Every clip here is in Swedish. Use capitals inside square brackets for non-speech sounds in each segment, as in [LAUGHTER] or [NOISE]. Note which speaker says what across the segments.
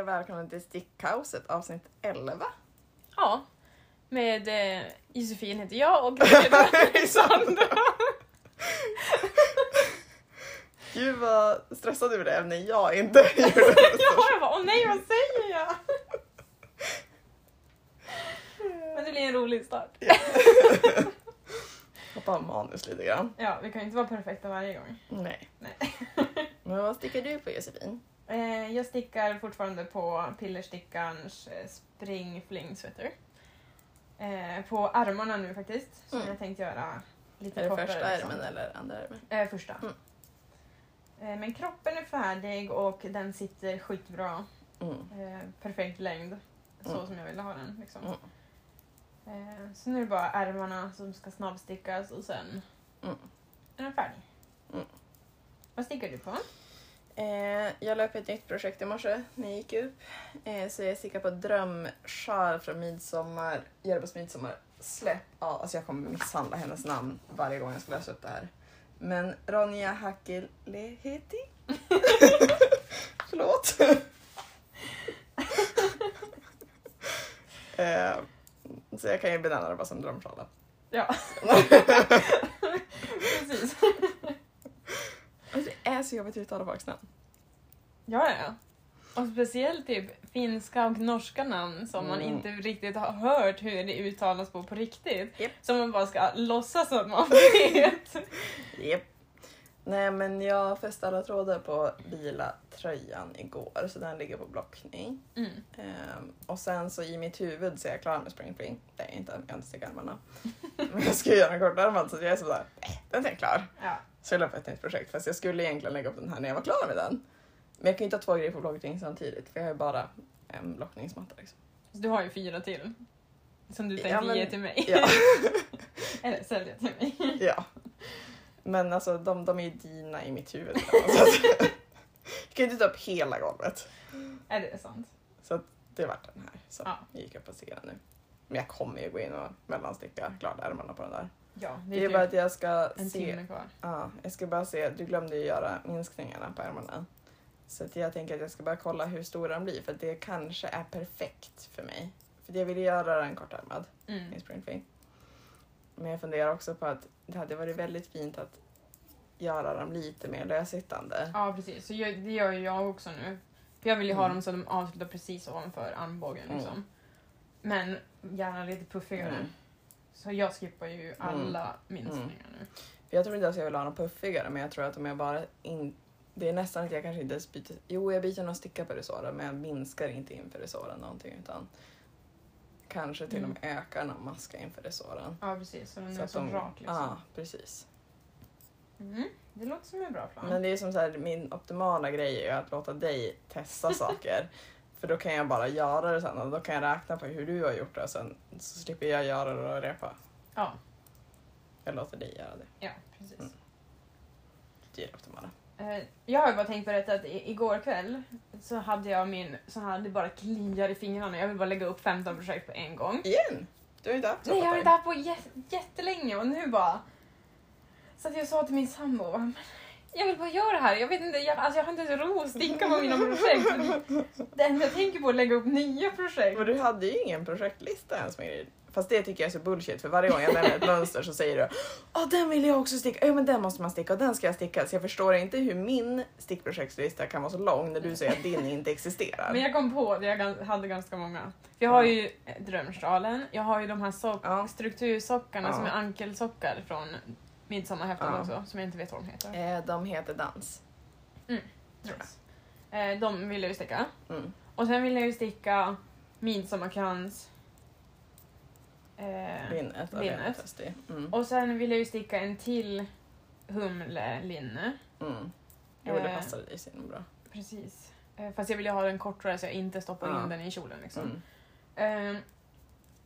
Speaker 1: och välkomna till Stickkaoset avsnitt
Speaker 2: [LAUGHS]
Speaker 1: 11.
Speaker 2: Ja. Med eh, Josefin heter jag [LAUGHS] och Greta heter Sandra.
Speaker 1: [LAUGHS] Gud vad stressad du blev när jag inte [LAUGHS] gjorde
Speaker 2: ja, jag bara åh nej vad säger jag? Men det blir en rolig start.
Speaker 1: Hoppa av manus lite grann.
Speaker 2: Ja, vi kan ju inte vara perfekta varje gång.
Speaker 1: Nej.
Speaker 2: Nej. [LAUGHS]
Speaker 1: Men vad stickar du på Josefin?
Speaker 2: Eh, jag stickar fortfarande på pillerstickarens eh, springfling sweater. Eh, på armarna nu faktiskt. Som
Speaker 1: Mm.
Speaker 2: jag tänkte göra lite
Speaker 1: Är det
Speaker 2: kortare.
Speaker 1: första
Speaker 2: liksom.
Speaker 1: ärmen eller andra ärmen?
Speaker 2: Eh, första.
Speaker 1: Mm.
Speaker 2: Eh, men kroppen är färdig och den sitter skitbra.
Speaker 1: Mm.
Speaker 2: Eh, perfekt längd. Så
Speaker 1: Mm.
Speaker 2: som jag ville ha den. Liksom.
Speaker 1: Mm.
Speaker 2: Eh, så nu är det bara ärmarna som ska snabbstickas och sen
Speaker 1: Mm.
Speaker 2: är den färdig.
Speaker 1: Mm.
Speaker 2: Vad stickar du på?
Speaker 1: Eh, jag la upp ett nytt projekt i morse när jag gick upp. Eh, så jag stickar på drömsjal från midsommar, Järbos midsommar. Släpp! Ja, alltså jag kommer misshandla hennes namn varje gång jag ska läsa upp det här. Men Ronja Hakileheti. [LAUGHS] Förlåt. [LAUGHS] eh, så jag kan ju benämna det bara som drömsjal då. [LAUGHS]
Speaker 2: Ja, precis.
Speaker 1: Alltså, det är så jobbigt att uttala folks namn.
Speaker 2: Ja, ja. Och speciellt typ finska och norska namn som man
Speaker 1: Mm.
Speaker 2: inte riktigt har hört hur det uttalas på på riktigt.
Speaker 1: Japp.
Speaker 2: Som man bara ska låtsas att
Speaker 1: [LAUGHS]
Speaker 2: man vet.
Speaker 1: Japp. Nej men jag fäste alla trådar på lila tröjan igår så den ligger på blockning.
Speaker 2: Mm.
Speaker 1: Ehm, och sen så i mitt huvud så är jag klar med spring fling. Det är jag inte, jag har inte stickat armarna. Men jag ska ju göra en kortärmad så jag är sådär, nej den är klar.
Speaker 2: Ja.
Speaker 1: Så jag la upp ett nytt projekt fast jag skulle egentligen lägga upp den här när jag var klar med den. Men jag kan ju inte ha två grejer på blockning samtidigt för jag har ju bara en blockningsmatta liksom.
Speaker 2: Så du har ju fyra till. Som du
Speaker 1: Ja,
Speaker 2: tänkte
Speaker 1: men-
Speaker 2: ge till mig.
Speaker 1: Ja.
Speaker 2: [LAUGHS] Eller sälja till mig.
Speaker 1: Ja. Men alltså de, de är ju dina i mitt huvud. Så att, jag kan ju inte ta upp hela golvet.
Speaker 2: Är det sant?
Speaker 1: Det vart den här. Så
Speaker 2: Ja.
Speaker 1: jag gick upp och stickade nu. Men jag kommer ju gå in och mellansticka klart ärmarna på den där.
Speaker 2: Ja, typ
Speaker 1: Det är bara att jag ska
Speaker 2: Mm. en
Speaker 1: se.
Speaker 2: timme kvar.
Speaker 1: Ja, jag ska bara se. Du glömde ju göra minskningarna på ärmarna. Så att jag tänker att jag ska bara kolla hur stor den blir för det kanske är perfekt för mig. För jag ville göra den kortärmad
Speaker 2: Mm.
Speaker 1: i springfing. Men jag funderar också på att det hade varit väldigt fint att göra dem lite mer lössittande.
Speaker 2: Ja, precis. Så jag, det gör ju jag också nu. För jag vill ju ha
Speaker 1: Mm.
Speaker 2: dem så de avslutar precis ovanför armbågen.
Speaker 1: Mm.
Speaker 2: Liksom. Men gärna lite puffigare.
Speaker 1: Mm.
Speaker 2: Så jag skippar ju alla minskningar nu.
Speaker 1: Jag tror inte ens jag vill ha någon puffigare men jag tror att om jag bara in... Det är nästan att jag kanske inte ens byter... Jo, jag byter någon sticka på resåren men jag minskar inte inför resåren någonting utan kanske till och med ökar någon maska inför resåren.
Speaker 2: Ja, precis. Så den
Speaker 1: Så
Speaker 2: Mm. är
Speaker 1: att
Speaker 2: så
Speaker 1: de- ah.
Speaker 2: rak. Liksom.
Speaker 1: Ja, precis.
Speaker 2: Mm. Det låter som en bra plan.
Speaker 1: Men det är som så här, min optimala grej är ju att låta dig
Speaker 2: [LAUGHS]
Speaker 1: testa saker. För då kan jag bara göra det sen och då kan jag räkna på hur du har gjort det och sen så slipper jag göra det och repa.
Speaker 2: Ja,
Speaker 1: Jag låter dig göra det.
Speaker 2: ja, precis.
Speaker 1: Mm. Det är det optimala.
Speaker 2: Eh, Jag har ju bara tänkt berätta att i- igår kväll så hade jag min så här, det bara kliar i fingrarna. Jag vill bara lägga upp 15 projekt på en gång.
Speaker 1: Igen! Du har ju inte haft så
Speaker 2: Nej, jag
Speaker 1: på
Speaker 2: har
Speaker 1: ett
Speaker 2: inte
Speaker 1: tag.
Speaker 2: haft på jä- jättelänge och nu bara... Så att jag sa till min sambo, bara, "Men jag vill bara göra det här. Jag vet inte, jag, alltså jag har inte ens ro att sticka på mina projekt. Det enda jag tänker på är att lägga upp nya projekt.
Speaker 1: Men du hade ju ingen projektlista ens med grejer. Fast det tycker jag är så bullshit för varje gång jag nämner ett mönster så säger du Ja den vill jag också sticka, ja men den måste man sticka och den ska jag sticka. Så jag förstår inte hur min stickprojektslista kan vara så lång när du säger att din inte existerar.
Speaker 2: [LAUGHS] Men jag kom på att jag gan- hade ganska många. För jag har ju eh, drömsjalen, jag har ju de här sock-
Speaker 1: Ja.
Speaker 2: struktursockarna
Speaker 1: Ja.
Speaker 2: som är ankelsockar från midsommarhäften
Speaker 1: Ja.
Speaker 2: också, som jag inte vet vad de heter.
Speaker 1: Eh, de heter dans.
Speaker 2: Eh, de vill jag ju sticka.
Speaker 1: Mm.
Speaker 2: Och sen vill jag ju sticka midsommarkrans. Eh,
Speaker 1: Linnet och
Speaker 2: Linnet.
Speaker 1: linnet. Mm.
Speaker 2: Och sen vill jag ju sticka en till humlelinne.
Speaker 1: Mm. Jo det
Speaker 2: Eh.
Speaker 1: passade dig så himla bra.
Speaker 2: Precis. Eh, Fast jag vill ju ha den kortare så jag inte stoppar
Speaker 1: Ja.
Speaker 2: in den i kjolen. Liksom.
Speaker 1: Mm.
Speaker 2: Eh,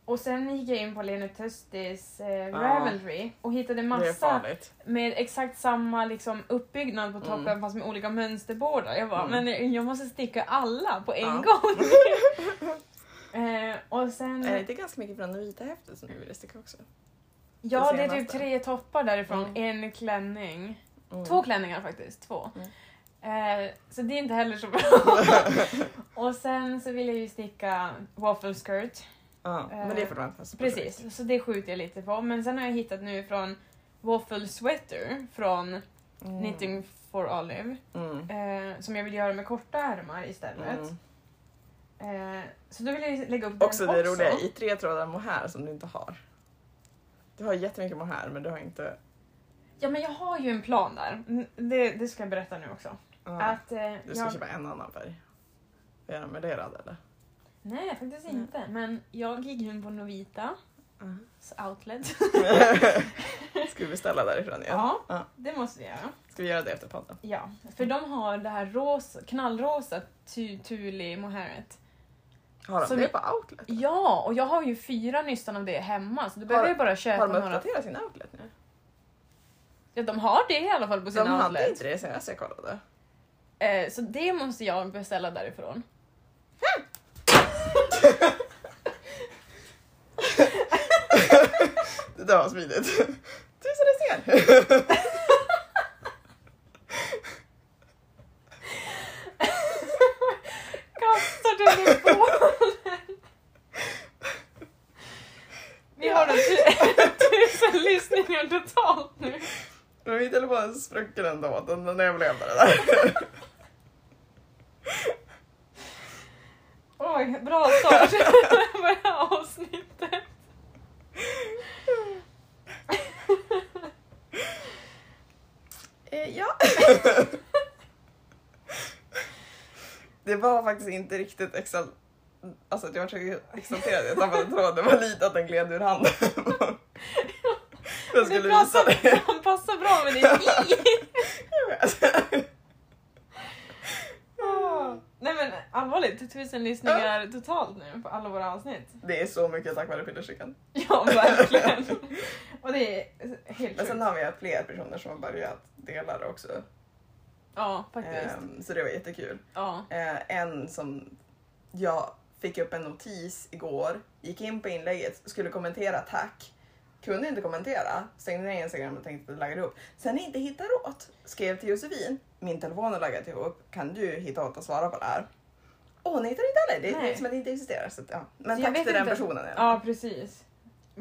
Speaker 2: och sen gick jag in på Lena Tustis eh,
Speaker 1: Ja.
Speaker 2: Ravelry och hittade
Speaker 1: Det är
Speaker 2: massa
Speaker 1: farligt.
Speaker 2: med exakt samma liksom, uppbyggnad på toppen
Speaker 1: Mm.
Speaker 2: fast med olika mönsterbordar. Jag bara,
Speaker 1: Mm.
Speaker 2: men jag måste sticka alla på en
Speaker 1: Ja. [LAUGHS]
Speaker 2: gång. eh, och sen...
Speaker 1: Är det inte ganska mycket från den vita häftet som du ville sticka också?
Speaker 2: Ja,
Speaker 1: det
Speaker 2: det är typ
Speaker 1: senaste?
Speaker 2: tre toppar därifrån.
Speaker 1: Mm.
Speaker 2: En klänning.
Speaker 1: Mm.
Speaker 2: Två klänningar faktiskt. Två.
Speaker 1: Mm.
Speaker 2: Eh, så det är inte
Speaker 1: [LAUGHS]
Speaker 2: heller så bra. och sen så vill jag ju sticka waffle skirt.
Speaker 1: Ja, men det är fortfarande ett fönsterprojekt.
Speaker 2: Precis, så det skjuter jag lite på. Men sen har jag hittat nu från Waffle Sweater från
Speaker 1: Mm.
Speaker 2: Knitting for Olive.
Speaker 1: Mm.
Speaker 2: Eh, som jag vill göra med korta ärmar istället.
Speaker 1: Mm.
Speaker 2: Eh, så då vill jag ju lägga upp den
Speaker 1: Också det roliga, i tre trådar mohair som du inte har. Du har jättemycket mohair men du har inte...
Speaker 2: Ja men jag har ju en plan där. Mm, Det, det ska jag berätta nu också.
Speaker 1: Ja.
Speaker 2: Att, eh,
Speaker 1: Ah. Du ska
Speaker 2: jag...
Speaker 1: köpa en annan färg. Är den möblerad eller?
Speaker 2: Nej faktiskt
Speaker 1: Mm.
Speaker 2: inte. Men jag gick in på Novitas Uh-huh. [LAUGHS] outlet.
Speaker 1: [LAUGHS] Ska vi beställa därifrån igen?
Speaker 2: Ja.
Speaker 1: Ja.
Speaker 2: det måste jag göra.
Speaker 1: Ska vi göra det efter podden?
Speaker 2: Ja, för de har det här rosa, knallrosa tu- tuli mohairet.
Speaker 1: Har de
Speaker 2: Så
Speaker 1: det
Speaker 2: vi-
Speaker 1: på outlet?
Speaker 2: Ja, och jag har ju fyra nystan av det hemma så då behöver
Speaker 1: Har-
Speaker 2: jag bara köpa
Speaker 1: Har de
Speaker 2: några.
Speaker 1: uppdaterat sin outlet nu?
Speaker 2: Ja, de har det i alla fall på
Speaker 1: De
Speaker 2: sina
Speaker 1: hade
Speaker 2: outlets.
Speaker 1: inte det senast jag
Speaker 2: [LAUGHS]
Speaker 1: kollade. [LAUGHS]
Speaker 2: Eh, så det måste jag beställa därifrån. [LAUGHS]
Speaker 1: Det där var smidigt. Tusen du ser!
Speaker 2: Kastar telefonen! Vi har då tu- tusen [LAUGHS] lyssningar totalt nu.
Speaker 1: Men min telefon sprucken ändå, den den överlevde det där.
Speaker 2: Oj, bra
Speaker 1: [LAUGHS]
Speaker 2: start på det här avsnittet.
Speaker 1: Eh, ja. [LAUGHS] det var faktiskt inte riktigt exalt... Alltså jag var så exalterad, jag tappade tråden. Det var lite att den gled ur handen. jag skulle
Speaker 2: Det
Speaker 1: visa
Speaker 2: passar,
Speaker 1: dig.
Speaker 2: det passar bra med
Speaker 1: [LAUGHS]
Speaker 2: det i. Nej men allvarligt, tusen lyssningar totalt nu på alla våra
Speaker 1: [LAUGHS]
Speaker 2: avsnitt.
Speaker 1: Det är så mycket tack vare pillercykeln.
Speaker 2: Ja, verkligen. Och det är helt
Speaker 1: Men sen
Speaker 2: sjukt.
Speaker 1: har vi haft fler personer som har börjat dela det också.
Speaker 2: Ja, faktiskt.
Speaker 1: Ehm, så det var jättekul.
Speaker 2: Ja.
Speaker 1: Eh, en som jag fick upp en notis igår, gick in på inlägget, skulle kommentera tack. Kunde inte kommentera, stängde ner Instagram och tänkte att det laggade ihop. Sen inte hittar åt, skrev till Josefin, min telefon har laggat ihop, kan du hitta åt att svara på det här? Och hon hittar inte heller, det är
Speaker 2: Nej.
Speaker 1: som att det inte existerar. Så att, ja. Men
Speaker 2: Så jag
Speaker 1: tack
Speaker 2: vet
Speaker 1: till den
Speaker 2: inte.
Speaker 1: personen. i alla fall.
Speaker 2: ja, precis.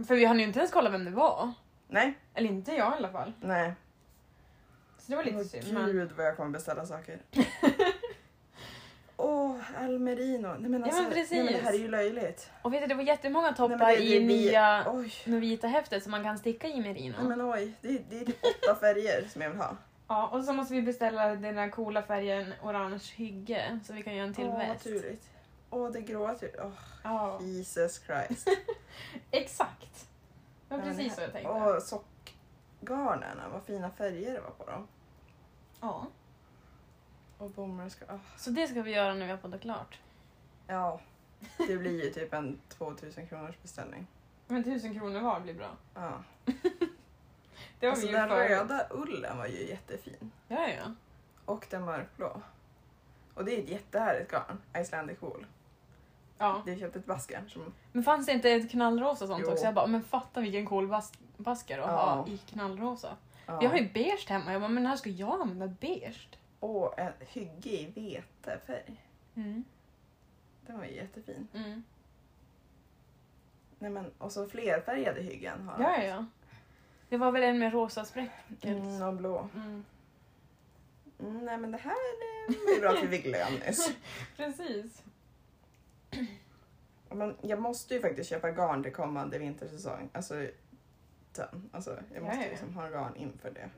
Speaker 2: För vi hann ju inte ens kolla vem det var.
Speaker 1: Nej,
Speaker 2: Eller inte jag i alla fall.
Speaker 1: nej.
Speaker 2: Så det var lite
Speaker 1: Åh,
Speaker 2: synd. Men...
Speaker 1: Gud vad jag kommer beställa
Speaker 2: [LAUGHS]
Speaker 1: saker. Åh, Almerino. Nej men
Speaker 2: Ja,
Speaker 1: alltså,
Speaker 2: men precis.
Speaker 1: Nej, men det här är ju löjligt.
Speaker 2: Och vet du, det var jättemånga
Speaker 1: Nej,
Speaker 2: toppar
Speaker 1: men det- det-
Speaker 2: i
Speaker 1: vi-
Speaker 2: nya
Speaker 1: Oj.
Speaker 2: Novita-häftet som man kan sticka i med Rino.
Speaker 1: Nej men oj, det, det är
Speaker 2: [LAUGHS]
Speaker 1: typ åtta färger som jag vill ha.
Speaker 2: Ja, och så måste vi beställa den där coola färgen orange hygge så vi kan göra en till
Speaker 1: Åh, vad
Speaker 2: väst.
Speaker 1: turligt. Åh, det gråa tur. Åh,
Speaker 2: Ja,
Speaker 1: Jesus
Speaker 2: [LAUGHS]
Speaker 1: Christ.
Speaker 2: exakt. Det var precis så jag tänkte.
Speaker 1: Åh, sockgarnerna, vad fina färger det var på dem.
Speaker 2: Ja.
Speaker 1: Och bomullska... åh.
Speaker 2: Så det ska vi göra när vi har
Speaker 1: [LAUGHS]
Speaker 2: poddat klart.
Speaker 1: Ja, det blir ju typ en 2000 kronors beställning.
Speaker 2: Men tusen kronor var blir bra.
Speaker 1: Ja.
Speaker 2: Det har
Speaker 1: Alltså,
Speaker 2: vi gjort
Speaker 1: den
Speaker 2: förut.
Speaker 1: röda ullen var ju jättefin.
Speaker 2: Ja, ja.
Speaker 1: Och den mörkblå. Och det är ett jättehärligt garn, Icelandic wool.
Speaker 2: ja.
Speaker 1: Det är köpt ett basker som
Speaker 2: Men fanns det inte ett knallrosa sånt
Speaker 1: Jo.
Speaker 2: också? Jag bara, men fatta vilken cool bas- basker att ha
Speaker 1: Ja.
Speaker 2: i knallrosa.
Speaker 1: ja.
Speaker 2: Jag har ju beige hemma. Jag bara, men här ska jag använda beige.
Speaker 1: Och en hygge i vetefärg.
Speaker 2: Mm.
Speaker 1: Den var ju jättefin.
Speaker 2: Mm.
Speaker 1: Nej, men, och så flerfärgade hyggen har
Speaker 2: Ja, ja, ja. Det var väl en med rosa spreckels.
Speaker 1: Mm, och blå.
Speaker 2: Mm.
Speaker 1: Mm, nej men det här eh, är bra att vi fick lön [LAUGHS] nyss.
Speaker 2: Precis.
Speaker 1: Men jag måste ju faktiskt köpa garn till kommande vintersäsong. Alltså, sen. alltså jag måste
Speaker 2: Ja,
Speaker 1: ju
Speaker 2: ja.
Speaker 1: liksom ha garn inför det.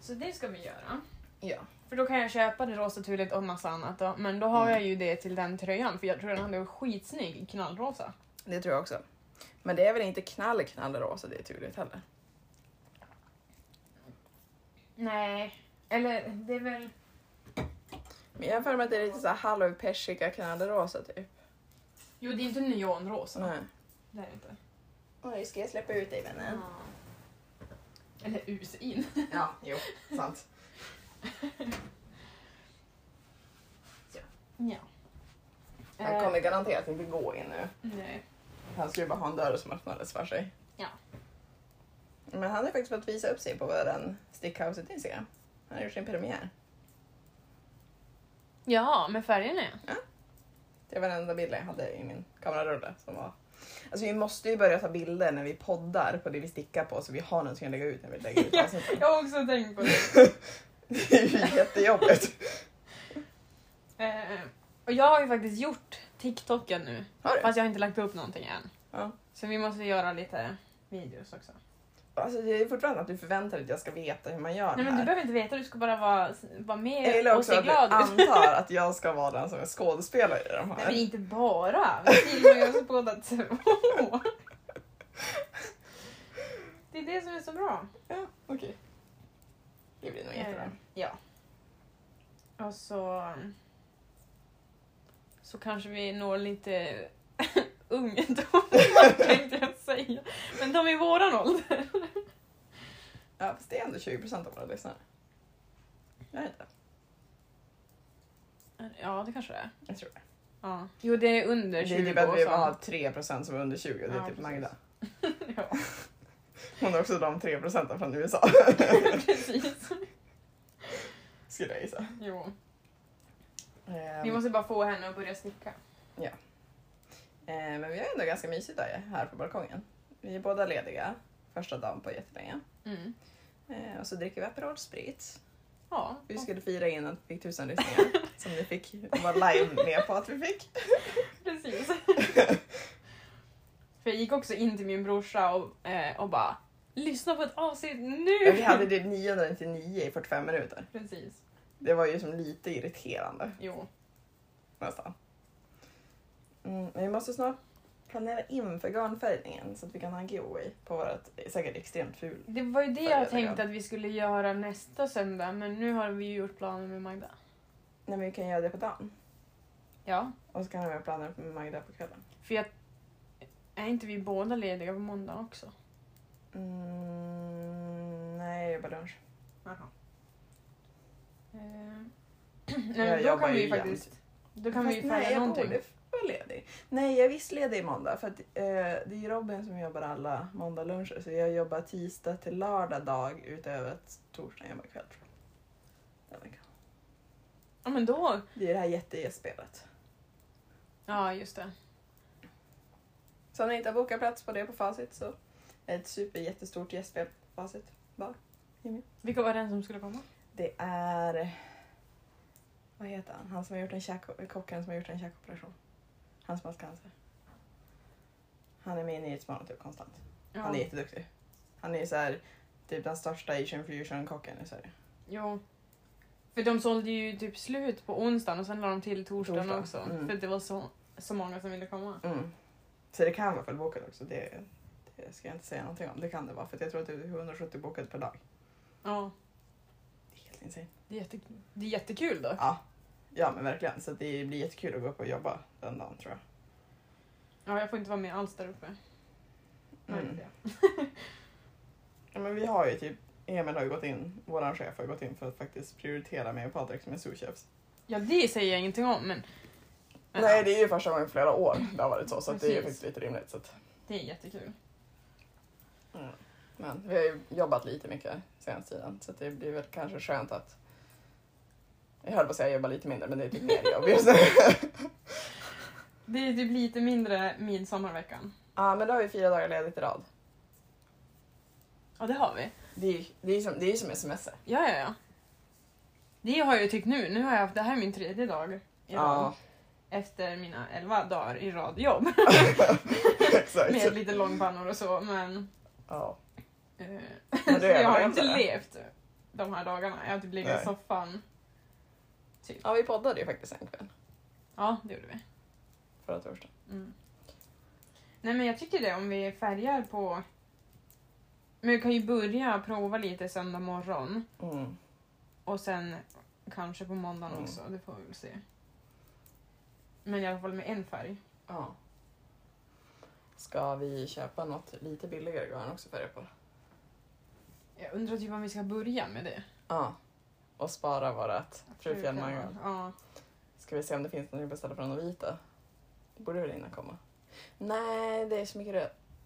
Speaker 2: Så det ska vi göra.
Speaker 1: Ja.
Speaker 2: För då kan jag köpa det rosa tulet och massa annat då. Men då har
Speaker 1: Mm.
Speaker 2: jag ju det till den tröjan för jag tror den hade varit skitsnygg i knallrosa.
Speaker 1: Det tror jag också. Men det är väl inte knall knall rosa det är turligt heller.
Speaker 2: Nej. Eller det är väl...
Speaker 1: Men jag har för mig att det är lite så här halvpersika knallrosa typ.
Speaker 2: Jo, det är inte neonrosa.
Speaker 1: Nej.
Speaker 2: Det är det inte.
Speaker 1: Oj, ska jag släppa ut dig vännen?
Speaker 2: Eller usin.
Speaker 1: Ja, jo, [LAUGHS] sant.
Speaker 2: [LAUGHS] Ja. Eh,
Speaker 1: Han kommer garanterat inte gå in nu.
Speaker 2: Nej.
Speaker 1: Han skulle bara ha en dörr som öppnades för sig.
Speaker 2: Ja.
Speaker 1: Men han har faktiskt fått visa upp sig på vår stickhouse Instagram. Han har gjort sin premiär.
Speaker 2: Ja, med färgerna ja.
Speaker 1: Det var den enda bilden jag hade i min kamerarulle. Som var... Alltså vi måste ju börja ta bilder när vi poddar på det vi stickar på så vi har någonting att lägga ut när vi lägger ut
Speaker 2: [LAUGHS] Ja.
Speaker 1: avsnitten.
Speaker 2: Jag har också tänkt på det.
Speaker 1: [LAUGHS] Det är ju jättejobbigt.
Speaker 2: Eh, och jag har ju faktiskt gjort TikToken nu.
Speaker 1: Har du?
Speaker 2: Fast jag har inte lagt upp någonting än.
Speaker 1: Ja.
Speaker 2: Så vi måste göra lite videos också.
Speaker 1: Alltså det är fortfarande att du förväntar dig att jag ska veta hur man gör
Speaker 2: Nej
Speaker 1: det
Speaker 2: men du
Speaker 1: här.
Speaker 2: behöver inte veta, du ska bara vara, vara med
Speaker 1: Eller
Speaker 2: och
Speaker 1: också
Speaker 2: se
Speaker 1: att du
Speaker 2: glad ut.
Speaker 1: antar att jag ska vara den som är skådespelare i de
Speaker 2: [LAUGHS] Nej men
Speaker 1: här.
Speaker 2: inte bara, vi filmar ju oss båda två. Det är det som är så bra.
Speaker 1: Ja, okej. Det blir nog jättebra.
Speaker 2: Eh, Ja. Och så... Alltså, Så kanske vi når lite [LAUGHS] ungdomar [LAUGHS] tänkte jag säga. Men de i våran ålder.
Speaker 1: Ja, fast det är ändå 20% av våra lyssnare. Jag vet inte.
Speaker 2: Ja, det kanske det är.
Speaker 1: Jag tror det.
Speaker 2: Ja. Jo, det är under 20
Speaker 1: Det är typ att vi
Speaker 2: och
Speaker 1: har
Speaker 2: sånt.
Speaker 1: 3% som är under 20 och det är
Speaker 2: Ja,
Speaker 1: typ
Speaker 2: precis.
Speaker 1: Magda.
Speaker 2: [LAUGHS] Ja,
Speaker 1: Hon är också de 3% från USA.
Speaker 2: [LAUGHS]
Speaker 1: [LAUGHS]
Speaker 2: precis.
Speaker 1: Skulle jag gissa.
Speaker 2: Jo.
Speaker 1: Ehm,
Speaker 2: Vi måste bara få henne att börja sticka.
Speaker 1: eh, men vi har ändå ganska mysigt där, här på balkongen. Vi är båda lediga första dagen på jättelänge.
Speaker 2: Mm.
Speaker 1: Eh, och så dricker vi Aperol Sprit.
Speaker 2: Ja.
Speaker 1: Vi skulle fira in att vi fick tusen lyssningar
Speaker 2: [LAUGHS]
Speaker 1: som ni fick vara live med på att vi fick.
Speaker 2: Precis. [LAUGHS] För jag gick också in till min brorsa och, eh, och bara Lyssna på ett avsnitt nu!
Speaker 1: Vi hade det 999 i 45 minuter.
Speaker 2: [LAUGHS] Precis.
Speaker 1: Det var ju som lite irriterande
Speaker 2: Jo.
Speaker 1: nästan. Mm, men vi måste snart planera in för garnfärgningen så att vi kan ha en giveaway på vårt säkert extremt ful.
Speaker 2: Det var ju det
Speaker 1: Färgade
Speaker 2: jag tänkte
Speaker 1: garn.
Speaker 2: att vi skulle göra nästa söndag men nu har vi ju gjort planer med Magda.
Speaker 1: Nej men vi kan göra det på dagen
Speaker 2: Ja.
Speaker 1: och så kan vi ha planer med Magda på kvällen.
Speaker 2: För jag... Är inte vi båda lediga på måndag också?
Speaker 1: Mm, nej, jag jobbar lunch.
Speaker 2: Jaha. Eh, [CLEARS THROAT]
Speaker 1: Jag
Speaker 2: nej, men då
Speaker 1: jobbar
Speaker 2: kan vi
Speaker 1: ju
Speaker 2: ju
Speaker 1: jämt.
Speaker 2: faktiskt... Då kan vi
Speaker 1: Fast
Speaker 2: ju
Speaker 1: nej,
Speaker 2: följa
Speaker 1: jag
Speaker 2: någonting.
Speaker 1: borde vara ledig. Nej, jag är visst ledig i måndag för att eh, det är ju Robin som jobbar alla måndagluncher så jag jobbar tisdag till lördag dag utöver att torsdag jag jobbar kväll. tror jag. Den veckan.
Speaker 2: Ja men då...
Speaker 1: Det är det här jättespelet.
Speaker 2: Ja just det.
Speaker 1: Så om ni inte har bokat plats på det på Facit så är ett super jättestort gästspel på Facit. Var?
Speaker 2: Vilka var den som skulle komma?
Speaker 1: Det är... Vad heter han? Han som har gjort en käk... Kocken som har gjort en käkoperation. Han som har haft cancer. Han är med i Nyhetsmorgon typ konstant.
Speaker 2: Ja.
Speaker 1: Han är jätteduktig. Han är så här, typ den största asian fusion-kocken i Sverige.
Speaker 2: Jo. För de sålde ju typ slut på onsdagen och sen la de till torsdagen
Speaker 1: Torsdag,
Speaker 2: också.
Speaker 1: mm.
Speaker 2: För att det var så, så många som ville komma.
Speaker 1: Mm. Så det kan vara fullbokat också. Det, det ska jag inte säga någonting om. Det kan det vara för att jag tror att det är 170 bokat per dag.
Speaker 2: Ja,
Speaker 1: Det är helt insane.
Speaker 2: det är, jätte, det är jättekul då.
Speaker 1: Ja. ja, men verkligen. Så det blir jättekul att gå upp och jobba den dagen tror jag.
Speaker 2: Ja, jag får inte vara med alls där uppe.
Speaker 1: Mm. Ja, men vi har ju typ, Emil har ju gått in, våran chef har ju gått in för att faktiskt prioritera mig och Patrik som är souschefs.
Speaker 2: Ja, det säger jag ingenting om, men... men
Speaker 1: Nej,
Speaker 2: ja,
Speaker 1: det är ju första gången i flera år det har varit så, så att det är ju
Speaker 2: Precis.
Speaker 1: faktiskt lite rimligt. Så att,
Speaker 2: det är jättekul.
Speaker 1: men vi har ju jobbat lite mycket senaste tiden, så att det blir väl kanske skönt att jag höll på att säga jobba lite mindre, men det är typ mer jobb just nu.
Speaker 2: [LAUGHS] Det är typ lite mindre midsommarveckan.
Speaker 1: Ja, men då har vi fyra dagar ledigt i rad.
Speaker 2: Ja, det har vi.
Speaker 1: Det är ju det är ju som, det är ju som semester.
Speaker 2: Ja, ja, ja. Det har jag ju tyckt nu. Nu har jag haft, det här är min tredje dag i rad. [LAUGHS]
Speaker 1: Ja, [LAUGHS]
Speaker 2: Efter mina elva dagar i rad jobb.
Speaker 1: exakt.
Speaker 2: med lite långpannor och så, men...
Speaker 1: Ja.
Speaker 2: Eh,
Speaker 1: Men
Speaker 2: [LAUGHS] så
Speaker 1: det är
Speaker 2: jag har
Speaker 1: väl
Speaker 2: inte
Speaker 1: det.
Speaker 2: levt de här dagarna. Jag har typ legat
Speaker 1: Nej.
Speaker 2: i soffan.
Speaker 1: ja, vi poddade ju faktiskt en kväll
Speaker 2: Ja, det gjorde vi.
Speaker 1: förra torsdagen.
Speaker 2: Mm. Nej men jag tycker det om vi färgar på... Men vi kan ju börja prova lite söndag morgon
Speaker 1: Mm.
Speaker 2: och sen kanske på måndagen
Speaker 1: Mm.
Speaker 2: också, det får vi väl se. Men i alla fall med en färg.
Speaker 1: Ja. Ska vi köpa något lite billigare garn också färga på?
Speaker 2: Jag undrar typ om vi ska börja med det.
Speaker 1: Ja. Och spara vårat Fru Fjällmangarn.
Speaker 2: Ja.
Speaker 1: Ska vi se om det finns något vi beställer från Novita? Det borde väl hinna komma? Nej, det är så mycket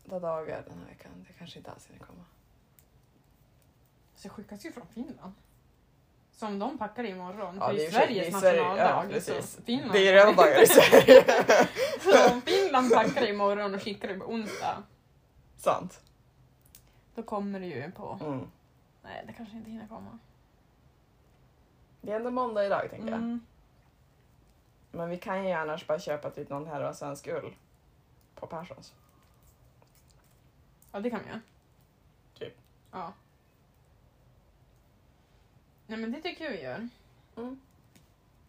Speaker 1: röda dagar den här veckan. Det kanske inte alls hinner komma.
Speaker 2: Så skickas ju från Finland. Som de packar imorgon.
Speaker 1: Ja,
Speaker 2: för
Speaker 1: det
Speaker 2: det
Speaker 1: är
Speaker 2: är
Speaker 1: i och för sig-
Speaker 2: Sveriges
Speaker 1: det är Sverige,
Speaker 2: nationaldag.
Speaker 1: ja, precis.
Speaker 2: så Finland.
Speaker 1: Det är redan dagar i Sverige.
Speaker 2: [LAUGHS] Så om Finland packar imorgon och skickar det på onsdag,
Speaker 1: Sant.
Speaker 2: då kommer det ju på...
Speaker 1: Mm.
Speaker 2: Nej, det kanske inte hinner komma.
Speaker 1: Det är ändå måndag idag tänker jag.
Speaker 2: Mm.
Speaker 1: Men vi kan ju annars bara köpa typ någon här och svensk ull på Perssons.
Speaker 2: Ja, det kan vi göra.
Speaker 1: Typ.
Speaker 2: Ja. Nej, men det tycker jag vi gör.
Speaker 1: Mm.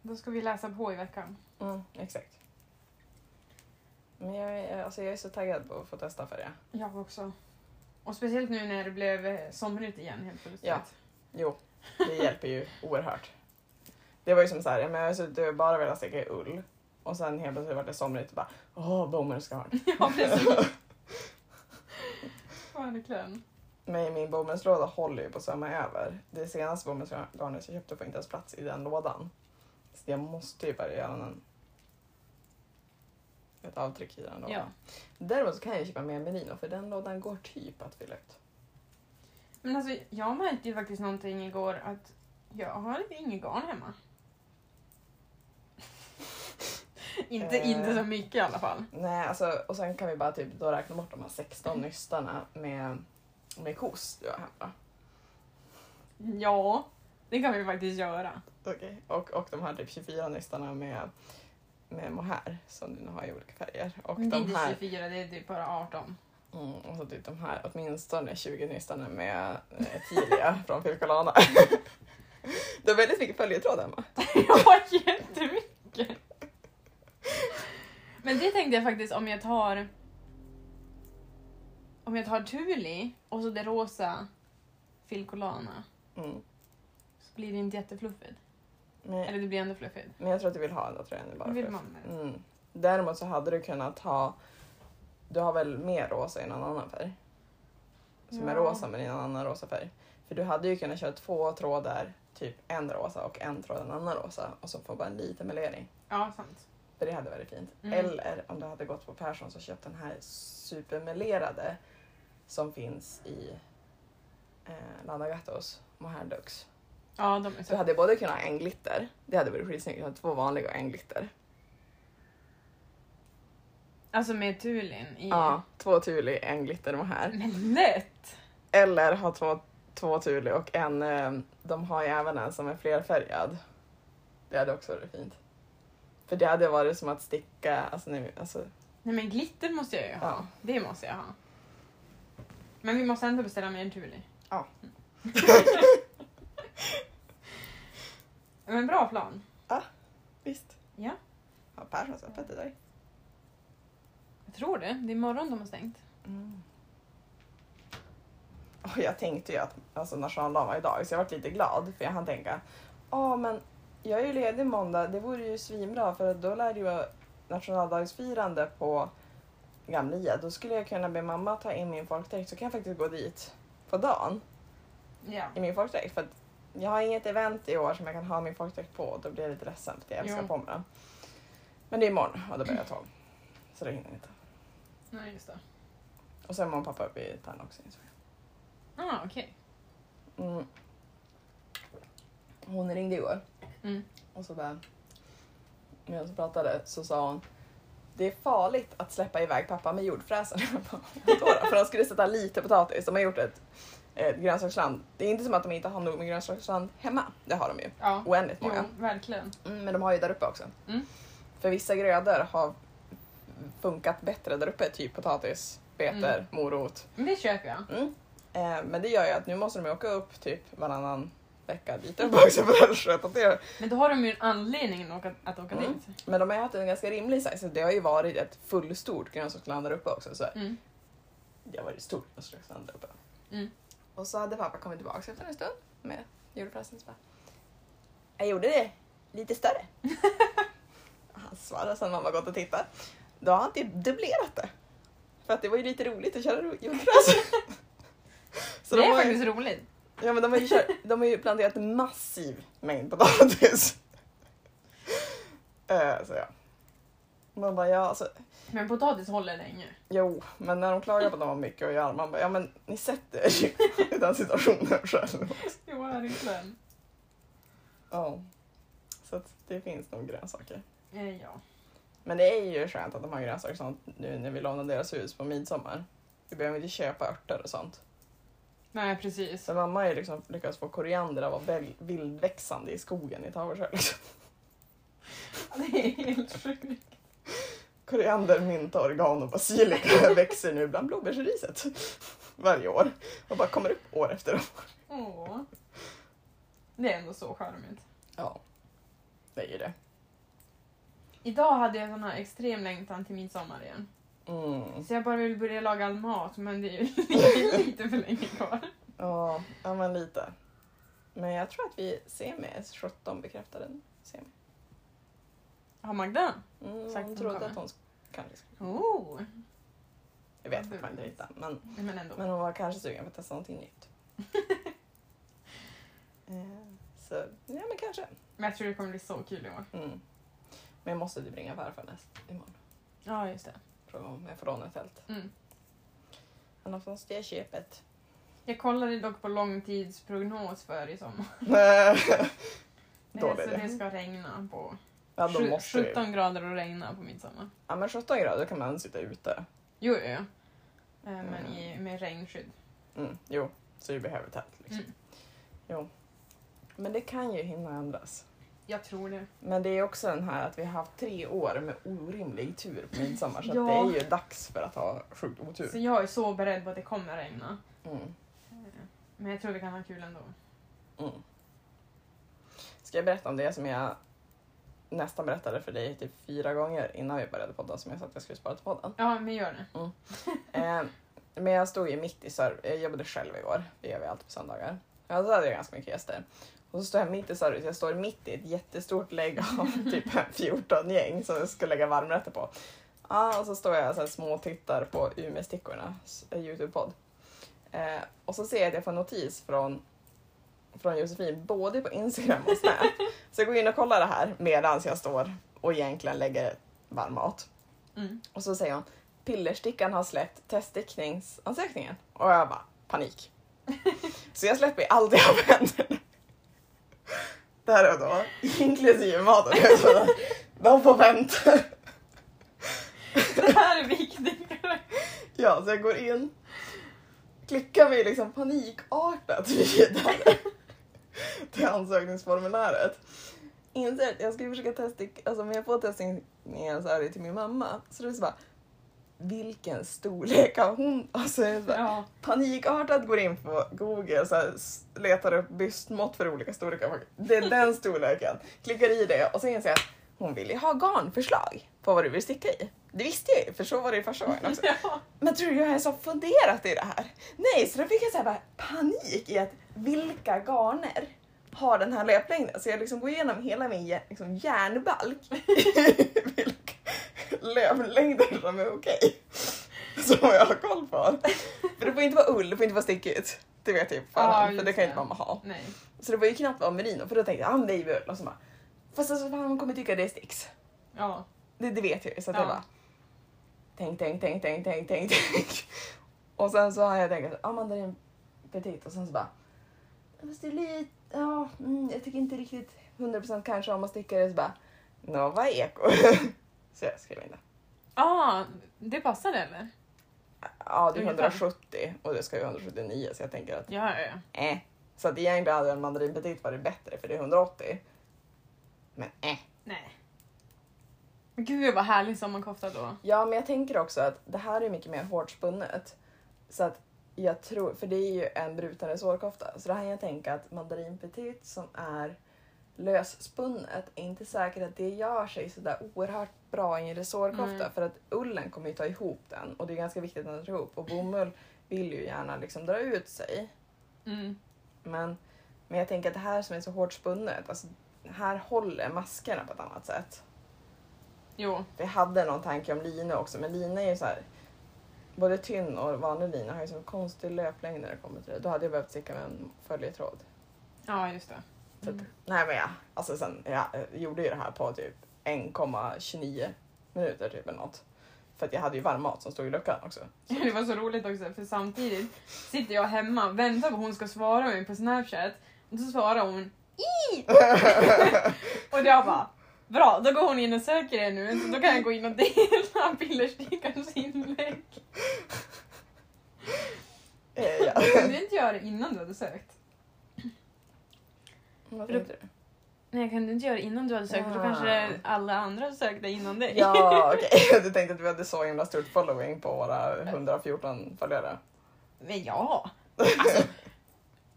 Speaker 2: Då ska vi läsa på i veckan.
Speaker 1: Mm, exakt. Men jag, är- alltså jag är så taggad på att få testa färger.
Speaker 2: Jag också. Och speciellt nu när det blev eh, somrigt igen helt plötsligt.
Speaker 1: Ja. Jo, det hjälper ju oerhört. Det var ju som så här, ja, men jag har suttit och bara velat sticka i ull och sen helt plötsligt var det somrigt och bara åh, bomull ska ha den.
Speaker 2: [LAUGHS] [LAUGHS] ja, precis. Verkligen.
Speaker 1: [LAUGHS] Men min bomullslåda håller ju på att svämma över. Det senaste bomullsgarnet jag köpte får inte ens plats i den lådan. Så jag måste ju bara göra en, ett avtryck i den lådan.
Speaker 2: Ja.
Speaker 1: Däremot så kan jag ju köpa mer merino för den lådan går typ att fylla ut.
Speaker 2: Men alltså, jag märkte ju faktiskt någonting igår att jag har inget garn hemma. [LAUGHS] inte,
Speaker 1: Eh.
Speaker 2: inte så mycket i alla fall.
Speaker 1: Nej, alltså, och sen kan vi bara typ då räkna bort de här 16 nystarna med, med kos du har hemma.
Speaker 2: Ja, det kan vi faktiskt göra.
Speaker 1: Okay. Och, och de här typ 24 nystarna med, med mohair som du nu har i olika färger. Och
Speaker 2: Men Mm, det är
Speaker 1: de
Speaker 2: inte
Speaker 1: här,
Speaker 2: 24, det är typ
Speaker 1: [LAUGHS]
Speaker 2: bara 18.
Speaker 1: mm, och så typ de här åtminstone 20 nystarna med eh,
Speaker 2: [LAUGHS]
Speaker 1: Tilia från Filcolana. du har väldigt mycket följetråd hemma.
Speaker 2: jag har jättemycket. Men det tänkte jag faktiskt om jag tar... Om jag tar Thuli och så det rosa filcolana
Speaker 1: Mm.
Speaker 2: så blir det inte jättefluffigt.
Speaker 1: Men,
Speaker 2: Eller det blir ändå fluffigt.
Speaker 1: men jag tror att du vill ha den där tröjan nu bara
Speaker 2: Vill
Speaker 1: för-
Speaker 2: man det?
Speaker 1: Mm. Däremot så hade du kunnat ha, du har väl mer rosa i någon annan färg? Som är
Speaker 2: Ja.
Speaker 1: rosa men i en annan rosa färg. För du hade ju kunnat köra två trådar, typ en rosa och en tråd en annan rosa och så få bara en liten melering.
Speaker 2: Ja, sant.
Speaker 1: För det hade varit fint.
Speaker 2: Mm.
Speaker 1: Eller om du hade gått på Persson så köpt den här supermelerade som finns i eh, Landagattos Mohair Dux.
Speaker 2: Ja, de är
Speaker 1: Så du
Speaker 2: så.
Speaker 1: hade både kunnat ha en glitter, det hade varit skitsnyggt, du hade två vanliga och en glitter.
Speaker 2: Alltså med tulin i.
Speaker 1: Ja, två tuli, en glitter mohair.
Speaker 2: Men lätt!
Speaker 1: Eller ha två, två Thule och en, eh, de har ju även en som är flerfärgad. Det hade också varit fint. För det hade varit som att sticka, alltså nu, alltså,
Speaker 2: Nej men glitter måste jag ju ha.
Speaker 1: ja.
Speaker 2: Det måste jag ha. Men vi måste ändå beställa mer Thuli.
Speaker 1: Ja.
Speaker 2: Mm. [LAUGHS] men bra plan.
Speaker 1: Visst.
Speaker 2: Ja.
Speaker 1: Har Perssons öppet idag?
Speaker 2: Jag tror det. Det är imorgon de har stängt.
Speaker 1: Mm. Och jag tänkte ju att alltså, nationaldagen var idag så jag var lite glad för jag hann tänka, ja men jag är ju ledig måndag, det vore ju svinbra för att då lär det ju vara nationaldagsfirande på Gamlia. Då skulle jag kunna be mamma ta in min folkdräkt så kan jag faktiskt gå dit på dagen
Speaker 2: Ja.
Speaker 1: i min folkdräkt. För att jag har inget event i år som jag kan ha min folkdräkt på och då blir jag lite ledsen för att jag älskar
Speaker 2: Jo.
Speaker 1: på mig den. Men det är imorgon och då börjar jag tolv. Så det hinner jag inte.
Speaker 2: Nej, just det.
Speaker 1: Och sen är mamma och pappa uppe i Tärna också insåg jag.
Speaker 2: Ah, okej.
Speaker 1: Mm. Hon ringde igår
Speaker 2: Mm.
Speaker 1: och så bara, medan vi pratade så sa hon det är farligt att släppa iväg pappa med jordfräsen. [LAUGHS] Jag bara, "Vadå då?" För de skulle sätta lite potatis. De har gjort ett, ett grönsaksland. Det är inte som att de inte har nog med grönsaksland hemma. Det har de ju.
Speaker 2: Ja.
Speaker 1: Oändligt
Speaker 2: Jo,
Speaker 1: många.
Speaker 2: verkligen.
Speaker 1: Mm, men de har ju där uppe också.
Speaker 2: Mm.
Speaker 1: För vissa grödor har funkat bättre där uppe. Typ potatis, betor,
Speaker 2: Mm.
Speaker 1: morot.
Speaker 2: Men det köper jag.
Speaker 1: Mm. Eh, men det gör ju att nu måste de ju åka upp typ varannan vecka dit upp också för att sköta det.
Speaker 2: Men då har de ju en anledning att åka, att åka
Speaker 1: Mm.
Speaker 2: dit.
Speaker 1: Men de har ju haft en ganska rimlig size. så Det har ju varit ett fullstort grönsaksland där uppe också. Så
Speaker 2: Mm.
Speaker 1: det har varit ett stort grönsaksland där uppe.
Speaker 2: Mm.
Speaker 1: Och så hade pappa kommit tillbaka efter en stund med julpressen. så bara, Jag gjorde det lite
Speaker 2: [LAUGHS]
Speaker 1: större. han svarade sen mamma gått och tittat. Då har han typ dubblerat det. För att det var ju lite roligt att köra ro-
Speaker 2: [LAUGHS]
Speaker 1: julpress. Så
Speaker 2: det
Speaker 1: de
Speaker 2: är
Speaker 1: har ju-
Speaker 2: faktiskt roligt.
Speaker 1: Ja men de har ju, kört, de har ju planterat en massiv mängd potatis. [LAUGHS] Eh, så ja. Man bara, ja alltså,
Speaker 2: Men potatis håller länge.
Speaker 1: jo, men när de klagar på att de har mycket att göra, man bara, ja men [LAUGHS] ni sätter er ju i den situationen själv.
Speaker 2: Jo, verkligen.
Speaker 1: Ja. Så att det finns nog grönsaker.
Speaker 2: Eh, ja.
Speaker 1: Men det är ju skönt att de har grönsaker och sånt nu när vi lånar deras hus på midsommar. Vi behöver inte köpa örter och sånt.
Speaker 2: Nej, precis.
Speaker 1: Så mamma har ju liksom lyckats få koriander att vara väl- vildväxande i skogen i Tavelsjö. Liksom.
Speaker 2: Det är helt sjukt.
Speaker 1: Koriander, mynta, organ och basilika [LAUGHS] växer nu bland blåbärsriset [LAUGHS] varje år och bara kommer upp år efter år.
Speaker 2: Åh. Det är ändå så charmigt.
Speaker 1: Ja, det är ju det.
Speaker 2: Idag hade jag sån här extrem längtan till midsommar igen.
Speaker 1: Mm.
Speaker 2: Så jag bara vill börja laga all mat, men det är
Speaker 1: [LAUGHS]
Speaker 2: ju lite för länge kvar.
Speaker 1: Ja, ja, men lite. Men jag tror att vi ser med 17 bekräftade nu. Ser med.
Speaker 2: Har Magda?
Speaker 1: Mm,
Speaker 2: Sagt
Speaker 1: hon
Speaker 2: hon
Speaker 1: trodde
Speaker 2: kommer.
Speaker 1: att hon sk- kanske skulle.
Speaker 2: Oh.
Speaker 1: Jag vet fortfarande inte, men,
Speaker 2: Nej, Men ändå.
Speaker 1: men hon var kanske sugen på att testa någonting
Speaker 2: [LAUGHS]
Speaker 1: nytt. Eh, Så, ja men kanske.
Speaker 2: Men jag tror det kommer bli så kul i år.
Speaker 1: Mm. Men jag måste typ ringa farfar näst imorgon.
Speaker 2: Ja, just det.
Speaker 1: Fråga om jag får låna ett tält.
Speaker 2: Mm.
Speaker 1: Annars måste jag köpa ett.
Speaker 2: [LAUGHS] Jag kollade dock på långtidsprognos för
Speaker 1: [LAUGHS]
Speaker 2: i sommar.
Speaker 1: Dålig
Speaker 2: så det
Speaker 1: idé.
Speaker 2: ska regna på...
Speaker 1: Ja, då
Speaker 2: sju-
Speaker 1: måste vi.
Speaker 2: 17 grader och regna på midsommar.
Speaker 1: Ja, men 17 grader kan man sitta ute.
Speaker 2: Jo, jo, jo. Eh, Men
Speaker 1: Mm.
Speaker 2: i, med regnskydd.
Speaker 1: Mm, jo, så vi behöver tält. Liksom.
Speaker 2: Mm.
Speaker 1: Jo. Men det kan ju hinna ändras.
Speaker 2: Jag tror det.
Speaker 1: Men det är också den här att vi har haft tre år med orimlig tur på midsommar så
Speaker 2: Ja.
Speaker 1: att det är ju dags för att ha sjukt
Speaker 2: Så
Speaker 1: otur.
Speaker 2: jag är så beredd på att det kommer regna.
Speaker 1: Mm,
Speaker 2: Men jag tror vi kan ha kul ändå.
Speaker 1: mm. Ska jag berätta om det som jag nästan berättade för dig typ fyra gånger innan vi började podda som jag sa att jag skulle spara till podden?
Speaker 2: Ja, men gör det.
Speaker 1: [LAUGHS] Eh, men jag stod ju mitt i serv- Jag jobbade själv igår. Det gör vi alltid på söndagar. Ja, så hade jag ganska mycket gäster. Och så står jag mitt i service. Jag står mitt i ett jättestort lägg av [LAUGHS] typ 14 gäng som jag ska lägga varmrätter på. Ja, och så står jag och småtittar på Umeåstickornas Youtube-podd. Eh, och så ser jag att jag får notis från, från Josefin både på Instagram och Snap. så jag går in och kollar det här medan jag står och egentligen lägger varm mat.
Speaker 2: Mm.
Speaker 1: Och så säger hon pillerstickan har släppt teststickningsansökningen. Och jag bara panik. Så jag släpper ju aldrig av händerna. Där och då, inklusive maten. Jag sa, De får vänta.
Speaker 2: [LAUGHS] Det här är viktigt.
Speaker 1: Ja, så jag går in. Klickar mig liksom panikartat vidare till ansökningsformuläret. Inser att jag ska försöka testa, alltså om jag får testningen så är det till min mamma. Så det är så bara, vilken storlek har hon? Alltså jag är så bara,
Speaker 2: Ja.
Speaker 1: panikartat går in på Google så här, s- letar upp bystmått för olika storlekar. Det är den storleken. Klickar i det och så inser jag att hon vill ju ha garnförslag på vad du vill sticka i. Det visste jag ju, för så var det ju första gången också.
Speaker 2: ja.
Speaker 1: Men tror du jag ens har funderat i det här? Nej, så då fick jag så här bara panik i att vilka garner har den här löplängden? Så jag liksom går igenom hela min hjär- liksom järnbalk i [LAUGHS] vilka löplängder som är okej. Som jag har koll på. För det får inte vara ull, det får inte vara stickigt. Det vet jag ju på
Speaker 2: Ja,
Speaker 1: förhand, för
Speaker 2: just
Speaker 1: det kan ju inte
Speaker 2: det.
Speaker 1: mamma ha.
Speaker 2: [LAUGHS] Nej.
Speaker 1: Så det var ju knappt vara merino, för då tänkte jag ah, men det är ju ull. Och så bara, fast alltså fan, hon kommer tycka det är sticks.
Speaker 2: Ja.
Speaker 1: Det, det vet jag ju. Så att
Speaker 2: Ja.
Speaker 1: jag bara... Tänk, tänk, tänk, tänk, tänkt, tänkt, tänkt. Och sen så har jag tänkt att ah, men det är en petit och sen så bara... Fast det är lite... Ja, mm, jag tycker inte riktigt 100% kanske om att sticka det. Så bara... Nova Eko. [LAUGHS] så jag skrev in det.
Speaker 2: Ah, det passade eller?
Speaker 1: Ja, det är
Speaker 2: Ungefär.
Speaker 1: 170 och det ska ju 179 så jag tänker att...
Speaker 2: Ja, ja, ja.
Speaker 1: Eh. Så att egentligen hade en mandarin petit varit bättre för det är 180. Men eh.
Speaker 2: Nej. Gud vad härlig sommarkofta då.
Speaker 1: Ja, men jag tänker också att det här är mycket mer hårt spunnet. Så att jag tror, för det är ju en bruten sårkofta. Så det här kan jag tänka att mandarin petit som är lösspunnet är inte säkert att det gör sig sådär oerhört bra i en resårkofta
Speaker 2: Nej.
Speaker 1: för att ullen kommer ju ta ihop den och det är ganska viktigt att den tar ihop och bomull vill ju gärna liksom dra ut sig.
Speaker 2: Mm.
Speaker 1: Men, men jag tänker att det här som är så hårt spunnet, alltså, här håller maskerna på ett annat sätt.
Speaker 2: Jo.
Speaker 1: Vi hade någon tanke om lina också, men lina är ju så här. Både tynn och vanlig lina har ju så konstig löplängd när det kommer till det. Då hade jag behövt sticka med en följetråd.
Speaker 2: Ja, just det.
Speaker 1: Så att, Nej men ja, alltså sen jag eh, gjorde ju det här på typ 1,29 minuter typ eller något. För att jag hade ju varm mat som stod i luckan också.
Speaker 2: Mm. [LAUGHS] Det var så roligt också för samtidigt sitter jag hemma och väntar på att hon ska svara mig på Snapchat och så svarar hon hit! och jag bara, bra då går hon in och söker det nu så då kan jag gå in och dela [LAUGHS] pillerstickarens inlägg.
Speaker 1: [LAUGHS] Eh, ja.
Speaker 2: Kunde du inte göra det innan du hade sökt?
Speaker 1: Vad tänkte du?
Speaker 2: Nej, kunde du inte göra det innan du hade sökt för då kanske alla andra sökte innan dig.
Speaker 1: Ja, okej. [LAUGHS] Du tänkte att vi hade så himla stort following på våra 114 följare.
Speaker 2: [LAUGHS] Men ja! Alltså,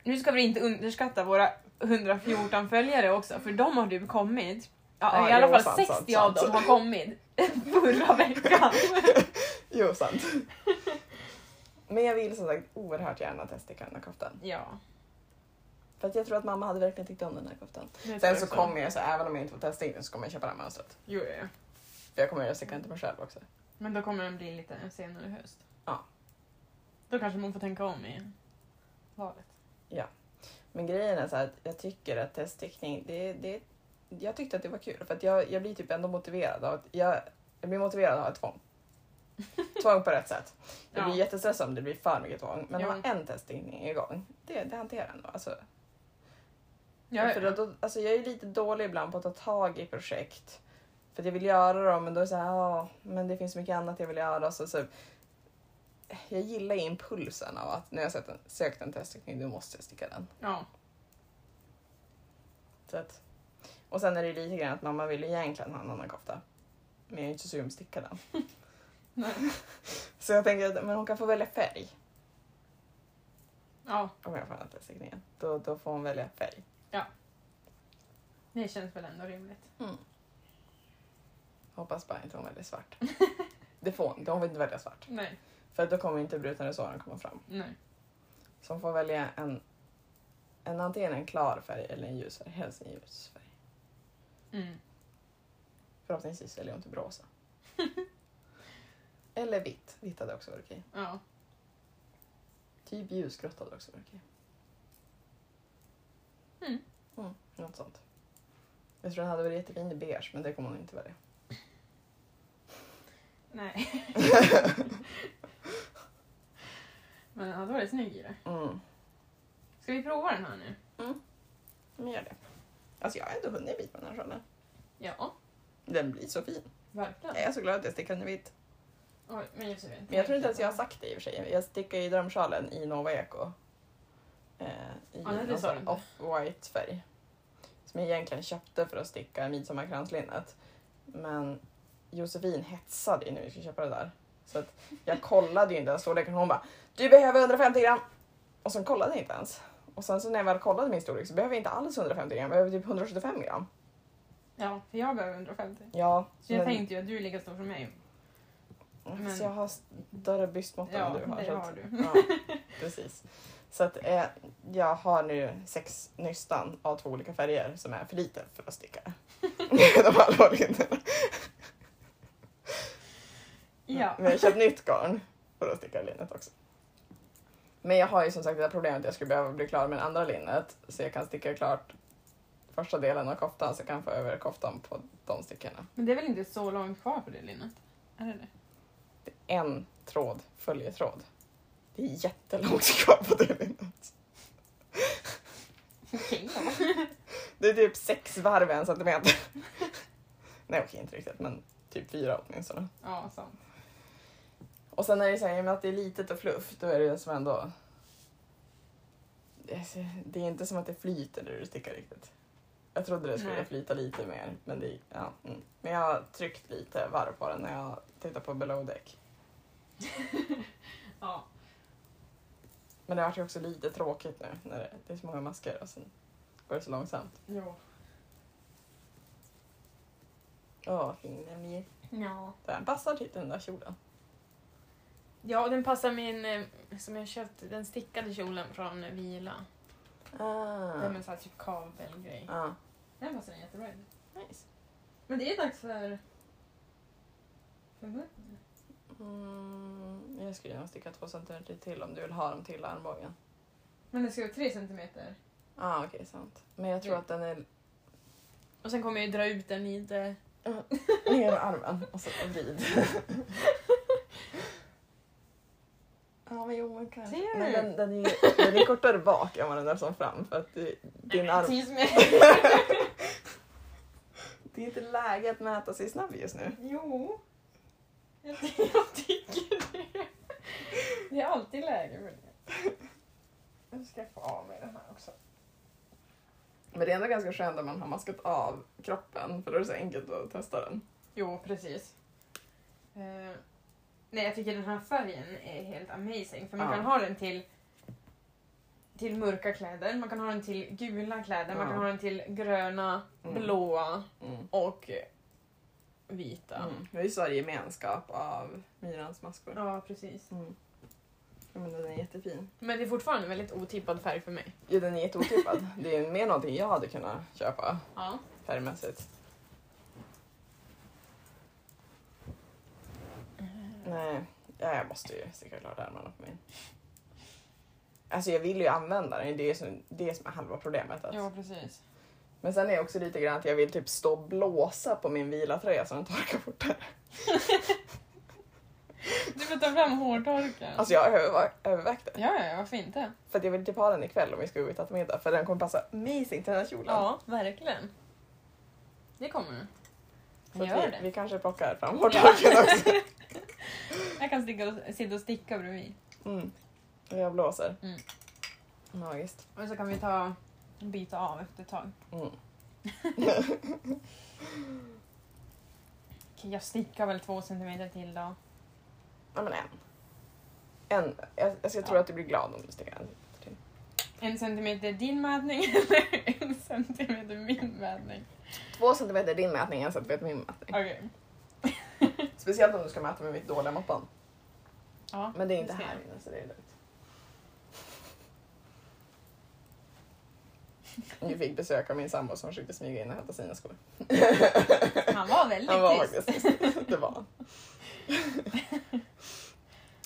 Speaker 2: nu ska vi inte underskatta våra 114 följare också, för de har du kommit. Ja,
Speaker 1: Ja,
Speaker 2: I alla
Speaker 1: jo,
Speaker 2: fall
Speaker 1: sant,
Speaker 2: 60
Speaker 1: sant,
Speaker 2: av
Speaker 1: sant.
Speaker 2: dem har kommit [LAUGHS] förra veckan.
Speaker 1: [LAUGHS] Jo, sant. Men jag vill som sagt oerhört gärna testa kanakoftan.
Speaker 2: ja,
Speaker 1: För att jag tror att mamma hade verkligen tyckt om den här koftan.
Speaker 2: det tror
Speaker 1: Sen
Speaker 2: jag
Speaker 1: så
Speaker 2: också.
Speaker 1: kommer jag, så även om jag inte får testa in den så kommer jag köpa det här mönstret.
Speaker 2: Jo, ja, ja.
Speaker 1: För jag kommer göra stickan till mig själv också.
Speaker 2: Men då kommer den bli lite senare i höst.
Speaker 1: Ja.
Speaker 2: Då kanske man får tänka om i valet.
Speaker 1: Men grejen är så här att jag tycker att teststickning, det, det, jag tyckte att det var kul. För att jag, jag blir typ ändå motiverad av att jag, jag blir motiverad av ett
Speaker 2: [LAUGHS]
Speaker 1: tvång. Tvång på rätt sätt. Jag blir
Speaker 2: Ja.
Speaker 1: jättestressad om det blir för mycket tvång. Men
Speaker 2: Jo.
Speaker 1: har en teststickning igång, det, det hanterar jag ändå. Alltså,
Speaker 2: Ja,
Speaker 1: För
Speaker 2: ja.
Speaker 1: då, alltså jag är lite dålig ibland på att ta tag i projekt. För att jag vill göra dem men då är det så här, "Ja, men det finns så mycket annat jag vill göra. Så, så, jag gillar impulsen av att när jag sett en, sökt en teststickning, då måste jag sticka den.
Speaker 2: ja.
Speaker 1: Så att, och sen är det lite grann att mamma vill egentligen ha en annan kofta. Men jag är inte så sugen på att sticka den.
Speaker 2: [LAUGHS] Nej.
Speaker 1: [LAUGHS] Så jag tänker att men hon kan få välja färg
Speaker 2: ja.
Speaker 1: om jag får den här teststickningen. Då, då får hon välja färg.
Speaker 2: Det känns väl ändå rimligt.
Speaker 1: Hoppas bara inte hon väljer
Speaker 2: [LAUGHS]
Speaker 1: svart. Det får hon, hon vill inte välja svart.
Speaker 2: Nej.
Speaker 1: För då kommer inte brutna resåren komma fram.
Speaker 2: Nej.
Speaker 1: som får välja en, en antingen en klar färg eller en ljus färg. Helst en ljus färg.
Speaker 2: Mm.
Speaker 1: Förhoppningsvis väljer hon typ [LAUGHS] rosa. eller vitt. Vitt hade också varit okej.
Speaker 2: Ja.
Speaker 1: Typ ljusgrått hade också varit okej.
Speaker 2: Mm.
Speaker 1: Mm, något sånt. Jag tror den hade varit jättefin i beige men det kommer hon inte välja.
Speaker 2: Nej.
Speaker 1: [LAUGHS]
Speaker 2: Men ja, då var det snygg i det.
Speaker 1: Mm.
Speaker 2: Ska vi prova den här nu?
Speaker 1: Men gör det. Alltså jag har ändå hunnit en bit med den här sjalen.
Speaker 2: Ja,
Speaker 1: Den blir så fin.
Speaker 2: verkligen.
Speaker 1: Jag är så glad att jag stickade den i vitt.
Speaker 2: Oj, men just det.
Speaker 1: Men jag tror inte ens jag har sagt det i och för sig. Jag stickar ju drömsjalen i Nova Eko. Eh, I
Speaker 2: Ja, nej, det
Speaker 1: någon
Speaker 2: sa
Speaker 1: sån
Speaker 2: du inte.
Speaker 1: off-white färg. Som jag egentligen köpte för att sticka midsommarkranslinnet. Men Josefin hetsade ju när vi skulle köpa det där. Så att jag kollade ju inte ens storleken. Hon bara Du behöver 150 gram! Och sen kollade jag inte ens. Och sen så när jag väl kollade min storlek så behöver jag inte alls 150 gram. Jag behöver typ 175 gram.
Speaker 2: Ja, för jag behöver 150.
Speaker 1: Ja.
Speaker 2: Så jag
Speaker 1: men-
Speaker 2: tänkte ju att du är lika stor som mig. men-
Speaker 1: Så jag har större byxmått än
Speaker 2: Ja,
Speaker 1: du har.
Speaker 2: det
Speaker 1: så att-
Speaker 2: har du.
Speaker 1: Ja,
Speaker 2: [LAUGHS]
Speaker 1: precis. Så att eh, jag har nu sex nystan av två olika färger som är för lite för att
Speaker 2: [LAUGHS]
Speaker 1: sticka. De här låglinjerna.
Speaker 2: Ja.
Speaker 1: Men jag har köpt nytt garn för att sticka linnet också. Men jag har ju som sagt det där problemet att jag skulle behöva bli klar med det andra linnet så jag kan sticka klart första delen av koftan så jag kan få över koftan på de styckena.
Speaker 2: Men det är väl inte så långt kvar på det linnet? Är det det?
Speaker 1: En tråd följer tråd. Det är jättelångt kvar på det linnet.
Speaker 2: Okej.
Speaker 1: Det är typ sex varv en centimeter. [LAUGHS] Nej okej, inte riktigt men typ fyra åtminstone.
Speaker 2: Ja, sant.
Speaker 1: Och sen är det så här, i och med att det är litet och fluff, då är det som ändå... Det är så- Det är inte som att det flyter när du stickar riktigt. Jag trodde det skulle
Speaker 2: Nej.
Speaker 1: flyta lite mer, men, det, ja, mm. men jag har tryckt lite varv på den när jag tittar på below deck.
Speaker 2: [LAUGHS] Ja.
Speaker 1: Men det har ju också lite tråkigt nu när det, det är så många masker och sen går det så långsamt.
Speaker 2: Jo.
Speaker 1: Åh, fina mig.
Speaker 2: Ja.
Speaker 1: Den passar till den där kjolen.
Speaker 2: Ja, och den passar min, eh, som jag köpt, den stickade kjolen från Vila. Den
Speaker 1: Ah.
Speaker 2: med sån här typ kabelgrej.
Speaker 1: Ah.
Speaker 2: Den passar den jättebra i.
Speaker 1: Nice.
Speaker 2: Men det är dags för... för vad?
Speaker 1: Mm, jag skulle gärna sticka två centimeter till om du vill ha dem till armbågen.
Speaker 2: Men det ska vara tre centimeter.
Speaker 1: ah, okej, sant. Men jag tror
Speaker 2: Ja.
Speaker 1: att den är
Speaker 2: Och sen kommer jag ju dra ut den lite.
Speaker 1: ner i armen och så vrid. [LAUGHS] Ja, men jo, kanske.
Speaker 2: Ser
Speaker 1: Men
Speaker 2: du?
Speaker 1: den, den, är ju, den är kortare bak än vad den är som fram för att det- din arm...
Speaker 2: Tills med...
Speaker 1: Det är inte läge att mäta sig snabb just nu.
Speaker 2: [LAUGHS] Jo. Jag, ty- jag tycker det. Det är alltid läge för det. Nu ska jag få av mig den här också.
Speaker 1: Men det är ändå ganska skönt att man har maskat av kroppen för då är det så enkelt att testa den.
Speaker 2: Jo, precis. Eh, nej, jag tycker den här färgen är helt amazing. För man
Speaker 1: Ja.
Speaker 2: kan ha den till, till mörka kläder, man kan ha den till gula kläder, man
Speaker 1: Ja.
Speaker 2: kan ha den till gröna,
Speaker 1: Mm.
Speaker 2: blåa
Speaker 1: Mm.
Speaker 2: och eh, vita.
Speaker 1: Mm. Vi har ju Sverige gemenskap av Myrans maskor.
Speaker 2: Ja, precis.
Speaker 1: Mm. Ja, men den är jättefin.
Speaker 2: Men det är fortfarande en väldigt otippad färg för mig.
Speaker 1: Ja, den är
Speaker 2: [LAUGHS]
Speaker 1: jätteotippad. det är mer någonting jag hade kunnat köpa
Speaker 2: Ja.
Speaker 1: färgmässigt.
Speaker 2: Eh.
Speaker 1: Nej, ja, jag måste ju sticka klart ärmarna på min. Alltså jag vill ju använda den, det är ju som, det är som är halva problemet. Att...
Speaker 2: Ja, precis.
Speaker 1: Men sen är jag också lite grann att jag vill typ stå och blåsa på min vilatröja så den torkar fortare.
Speaker 2: Du får ta fram hårtorken.
Speaker 1: Alltså jag har överva- övervägt det.
Speaker 2: ja, ja, varför inte?
Speaker 1: För att jag vill typ ha den ikväll om vi ska gå ut och äta middag för den kommer passa amazing till den här kjolen.
Speaker 2: Ja, verkligen. Det kommer.
Speaker 1: Så att
Speaker 2: Gör
Speaker 1: vi,
Speaker 2: det.
Speaker 1: vi kanske plockar fram
Speaker 2: [LAUGHS]
Speaker 1: hårtorken också.
Speaker 2: Jag kan sticka och, sitta och sticka bredvid.
Speaker 1: [LAUGHS] Mm. Och jag blåser.
Speaker 2: Mm.
Speaker 1: Magiskt.
Speaker 2: Och så kan vi ta byta av efter ett tag.
Speaker 1: Mm.
Speaker 2: Okej, jag stickar väl två centimeter till då.
Speaker 1: Ja men en. En. Jag, jag, ska tro
Speaker 2: Ja.
Speaker 1: att du blir glad om du sticker en till.
Speaker 2: En centimeter din mätning [LAUGHS] eller en centimeter min mätning.
Speaker 1: Två centimeter är din mätning, en centimeter min mätning.
Speaker 2: Okej.
Speaker 1: Speciellt om du ska mäta med mitt dåliga moppan.
Speaker 2: Ja,
Speaker 1: Men det är
Speaker 2: vi
Speaker 1: inte
Speaker 2: ser.
Speaker 1: här inne så det är
Speaker 2: [LAUGHS]
Speaker 1: lugnt. Vi fick besök av min sambo som försökte smyga in och hämta sina skor.
Speaker 2: Han var väldigt
Speaker 1: Han var
Speaker 2: tyst.
Speaker 1: faktiskt tyst. Det var
Speaker 2: [LAUGHS]
Speaker 1: han.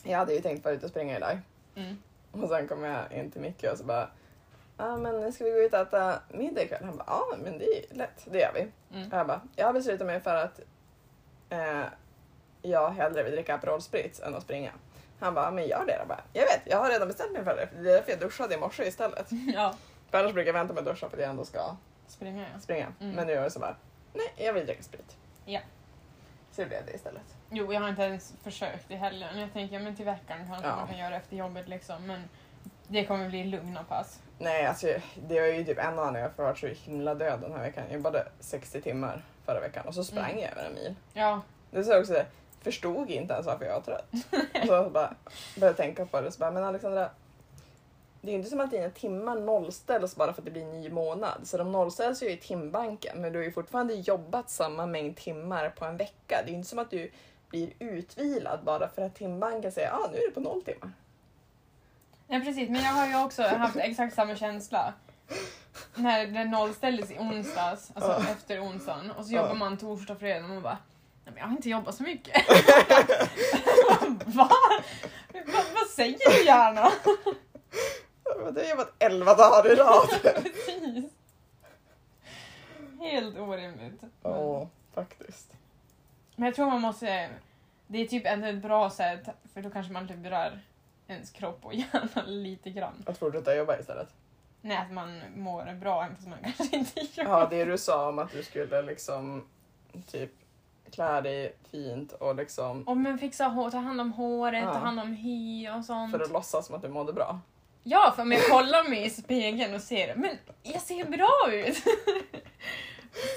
Speaker 1: Jag hade ju tänkt vara ute och springa idag.
Speaker 2: Mm.
Speaker 1: Och sen kom jag in till Micke och så bara Ja men nu ska vi gå ut och äta middag ikväll? Han bara ja men det är ju lätt, det gör vi.
Speaker 2: Mm.
Speaker 1: Och jag bara jag har beslutat mig för att eh, jag hellre vill dricka Aperol Spritz än att springa. Han bara men gör det då. Jag, bara, jag vet, jag har redan bestämt mig för det. Det är därför jag duschade i morse istället.
Speaker 2: [LAUGHS] Ja,
Speaker 1: För annars brukar jag vänta med att duscha för att jag ändå ska
Speaker 2: springa ja.
Speaker 1: springa.
Speaker 2: Mm.
Speaker 1: Men nu är det så bara nej jag vill dricka sprit.
Speaker 2: Ja.
Speaker 1: Så det blev det istället.
Speaker 2: Jo, jag har inte ens försökt i helgen. Jag tänker, ja, men till veckan kanske
Speaker 1: Ja.
Speaker 2: man kan göra efter jobbet liksom. Men det kommer bli lugna pass.
Speaker 1: Nej, alltså det var ju typ en annan jag har varit så himla död den här veckan. Jag jobbade 60 timmar förra veckan och så sprang
Speaker 2: Mm.
Speaker 1: jag över en mil.
Speaker 2: Ja,
Speaker 1: Det sa jag också, förstod inte ens varför jag var trött. och så bara började jag tänka på det så bara, men Alexandra, det är ju inte som att dina timmar nollställs bara för att det blir en ny månad. Så de nollställs ju i timbanken, men du har ju fortfarande jobbat samma mängd timmar på en vecka. Det är ju inte som att du blir utvilad bara för att timbanken säger, ah, nu är du på noll timmar.
Speaker 2: Nej precis, men jag har ju också haft exakt samma känsla. När det nollställdes i onsdags, alltså
Speaker 1: Ja.
Speaker 2: efter onsdagen, och så
Speaker 1: Ja.
Speaker 2: jobbar man torsdag och fredag och man bara Nej men jag har inte jobbat så mycket.
Speaker 1: [LAUGHS]
Speaker 2: Va? Va? Vad säger du gärna?
Speaker 1: Jag bara, Du har jobbat 11 dagar i rad.
Speaker 2: Precis. Helt orimligt.
Speaker 1: Ja, faktiskt.
Speaker 2: Men jag tror man måste, det är typ ändå ett bra sätt, för då kanske man lurar ens kropp och hjärna [LAUGHS] lite grann.
Speaker 1: Att fortsätta jobba istället.
Speaker 2: Nej, att man mår bra även fast man kanske inte gör
Speaker 1: Ja, det du sa om att du skulle liksom typ klä dig fint och liksom
Speaker 2: Och men fixa hår, ta hand om håret,
Speaker 1: Ja.
Speaker 2: ta hand om hy och sånt.
Speaker 1: för att låtsas som att du mådde bra.
Speaker 2: Ja, för om jag kollar mig i spegeln och ser men jag ser bra ut. [LAUGHS]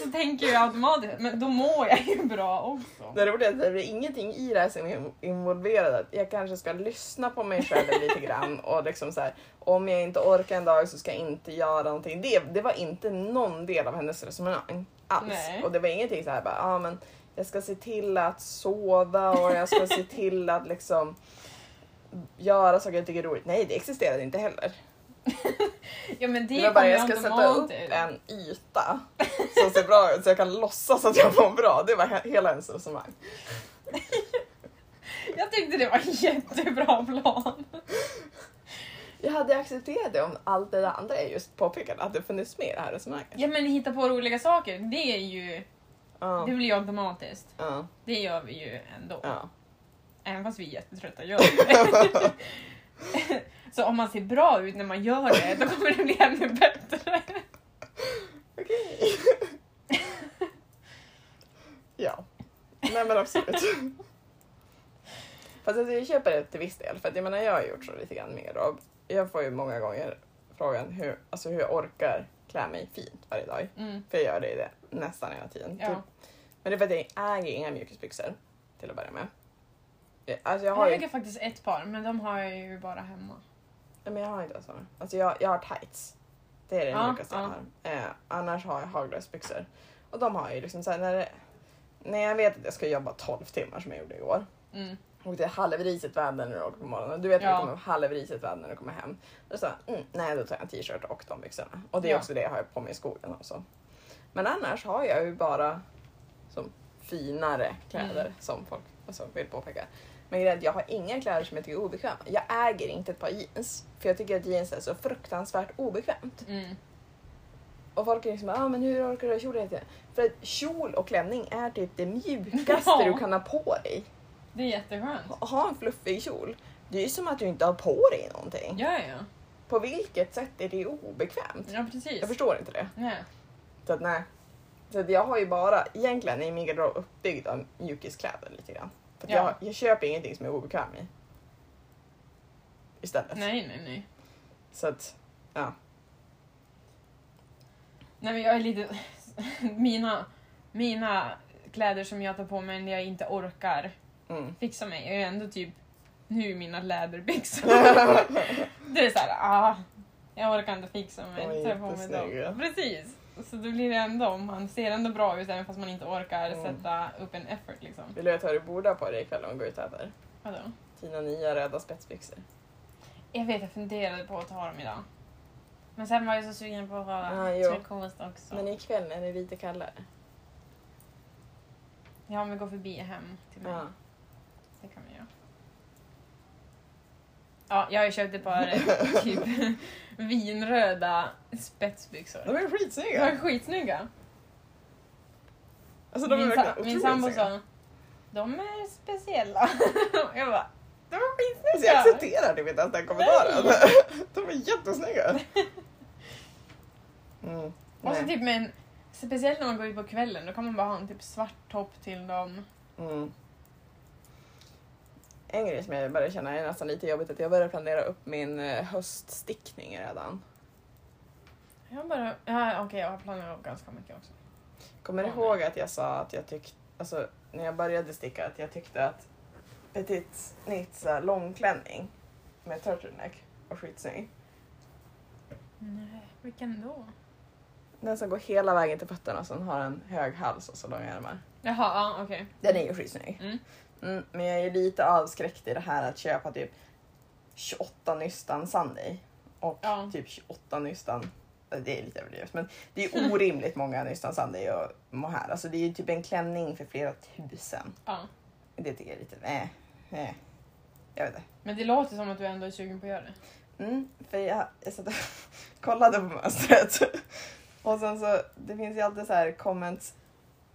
Speaker 2: så tänker jag automatiskt, men då mår jag ju bra också.
Speaker 1: Det roliga är att det är ingenting i det här som är involverat. Att Jag kanske ska lyssna på mig själv lite grann och liksom så här, om jag inte orkar en dag så ska jag inte göra någonting. Det, det var inte någon del av hennes resonemang alls.
Speaker 2: Nej.
Speaker 1: Och det var ingenting så här bara, ah, men jag ska se till att sova och jag ska se till att liksom göra saker jag tycker är roligt. Nej, det existerade inte heller.
Speaker 2: Ja, men
Speaker 1: Det
Speaker 2: det,
Speaker 1: var
Speaker 2: kommer
Speaker 1: bara jag ska sätta upp
Speaker 2: automatiskt.
Speaker 1: en yta som ser bra ut så jag kan låtsas att jag mår bra. Det var he- hela hennes resonemang.
Speaker 2: Jag tyckte det var en jättebra plan.
Speaker 1: Jag hade accepterat det om allt det där andra jag just påpekade, att det funnits med i det här resonemanget.
Speaker 2: Ja, men hitta på roliga saker, det är ju,
Speaker 1: Ja,
Speaker 2: det blir ju automatiskt.
Speaker 1: ja,
Speaker 2: Det gör vi ju ändå.
Speaker 1: ja.
Speaker 2: Även fast vi är jättetrötta gör vi det.
Speaker 1: [LAUGHS]
Speaker 2: [LAUGHS] Så om man ser bra ut när man gör det, då kommer det bli ännu bättre.
Speaker 1: Okej. ja. Nej men absolut. [LAUGHS] Fast alltså, jag köper det till viss del. För att jag menar jag har gjort så lite grann med Rob. Jag får ju många gånger frågan hur, alltså, hur jag orkar klä mig fint varje dag.
Speaker 2: Mm.
Speaker 1: För jag gör det, i det nästan hela tiden. Typ.
Speaker 2: Ja.
Speaker 1: Men det är för att jag äger inga mjukisbyxor till att börja med. Jag- Alltså jag
Speaker 2: Jag
Speaker 1: har ju
Speaker 2: äger faktiskt ett par, men de har jag ju bara hemma.
Speaker 1: Nej, men jag har inte ens såna. Alltså jag, jag har tights. Det är det
Speaker 2: Ja,
Speaker 1: mjukaste jag
Speaker 2: ja.
Speaker 1: har. Eh, annars har jag haglösbyxor. Och de har jag ju liksom såhär när, det- när jag vet att jag ska jobba 12 timmar som jag gjorde igår.
Speaker 2: Mm.
Speaker 1: Och det är halvrisigt väder när du åker på morgonen. Du vet att
Speaker 2: Ja.
Speaker 1: det kommer halvrisigt väder när du kommer hem. Då så, mm, nej då tar jag en t-shirt och de byxorna. Och det är
Speaker 2: Ja.
Speaker 1: också det jag har på mig i skolan också. Men annars har jag ju bara som finare kläder
Speaker 2: Mm.
Speaker 1: som folk alltså, vill påpeka. Men grejen är att jag har inga kläder som jag tycker är obekväma. Jag äger inte ett par jeans. För jag tycker att jeans är så fruktansvärt obekvämt.
Speaker 2: Mm.
Speaker 1: Och folk är liksom ah, men hur orkar du ha kjol hela tiden?" För att kjol och klänning är typ det mjukaste
Speaker 2: Ja.
Speaker 1: du kan ha på dig
Speaker 2: Det är jätteskönt.
Speaker 1: att ha en fluffig kjol, det är ju som att du inte har på dig någonting.
Speaker 2: Ja, ja.
Speaker 1: På vilket sätt är det obekvämt?
Speaker 2: Ja, precis.
Speaker 1: Jag förstår inte det.
Speaker 2: Nej.
Speaker 1: Så att nej. Så att jag har ju bara, egentligen är min garderob uppbyggd av mjukiskläder lite grann. För att
Speaker 2: Ja.
Speaker 1: jag, jag köper ingenting som jag är obekväm i. Istället.
Speaker 2: nej, nej, nej.
Speaker 1: Så att, ja.
Speaker 2: Nej, men jag är lite... [LAUGHS] Mina, mina kläder som jag tar på mig när jag inte orkar [LAUGHS]
Speaker 1: Mm.
Speaker 2: fixa mig är ju ändå typ nu mina läderbyxor.
Speaker 1: [LAUGHS]
Speaker 2: det är såhär, ah, jag orkar inte fixa
Speaker 1: De är
Speaker 2: mig. Ta på mig
Speaker 1: jättesnygga.
Speaker 2: dem. Precis. Så då blir det ändå, man ser ändå bra ut även fast man inte orkar
Speaker 1: Mm.
Speaker 2: sätta upp en effort liksom.
Speaker 1: Vill du veta vad du borde ha på dig ikväll om vi går ut och äter?
Speaker 2: Vadå?
Speaker 1: Dina nya röda spetsbyxor.
Speaker 2: Jag vet, jag funderade på att ta dem idag. Men sen var jag så sugen på att ha
Speaker 1: Ja, jo.
Speaker 2: turkost också.
Speaker 1: Men ikväll när det är lite kallare.
Speaker 2: Ja, men gå förbi hem till mig.
Speaker 1: Ja.
Speaker 2: Det kan vi göra. Ja, jag har ju köpt ett par
Speaker 1: [LAUGHS]
Speaker 2: typ vinröda spetsbyxor.
Speaker 1: De är
Speaker 2: De är
Speaker 1: skitsnygga!
Speaker 2: skitsnygga.
Speaker 1: Alltså de är
Speaker 2: min
Speaker 1: verkligen
Speaker 2: sa- min
Speaker 1: otroligt
Speaker 2: sambo
Speaker 1: snygga.
Speaker 2: sa, de är speciella. [LAUGHS] jag bara, de är
Speaker 1: Alltså jag
Speaker 2: skitsnygga.
Speaker 1: accepterar typ inte ens den kommentaren. [LAUGHS] De är jättesnygga. Mm.
Speaker 2: Och så
Speaker 1: nej.
Speaker 2: typ med en, speciellt när man går ut på kvällen, då kan man bara ha en typ svart topp till dem.
Speaker 1: Mm. En grej som jag börjar känna är nästan lite jobbigt att jag börjar planera upp min eh, höststickning redan.
Speaker 2: Jag bara, ja, okej jag har planerat upp ganska mycket också.
Speaker 1: Kommer du
Speaker 2: Åh,
Speaker 1: ihåg att jag sa att jag tyckte, alltså när jag började sticka, att jag tyckte att petit snitt så här, långklänning med turtleneck var skitsnygg.
Speaker 2: Nej, vilken då?
Speaker 1: Den som går hela vägen till fötterna och sen har en hög hals och så långa ärmar.
Speaker 2: Jaha, ja okej.
Speaker 1: Den är ju skitsnygg.
Speaker 2: Mm.
Speaker 1: Mm, men jag är lite avskräckt i det här att köpa typ 28 nystan Sunday och
Speaker 2: Ja.
Speaker 1: typ 28 nystan det är lite överdrivet men det är orimligt många nystan Sunday och mohair. Alltså det är ju typ en klänning för flera tusen.
Speaker 2: Ja.
Speaker 1: Det tycker jag är lite, nej. nej. Jag vet inte.
Speaker 2: Men det låter som att du ändå är sugen på att göra det.
Speaker 1: Mm, för jag, jag satt och [LAUGHS] kollade på mönstret. Och sen så, det finns ju alltid så här comments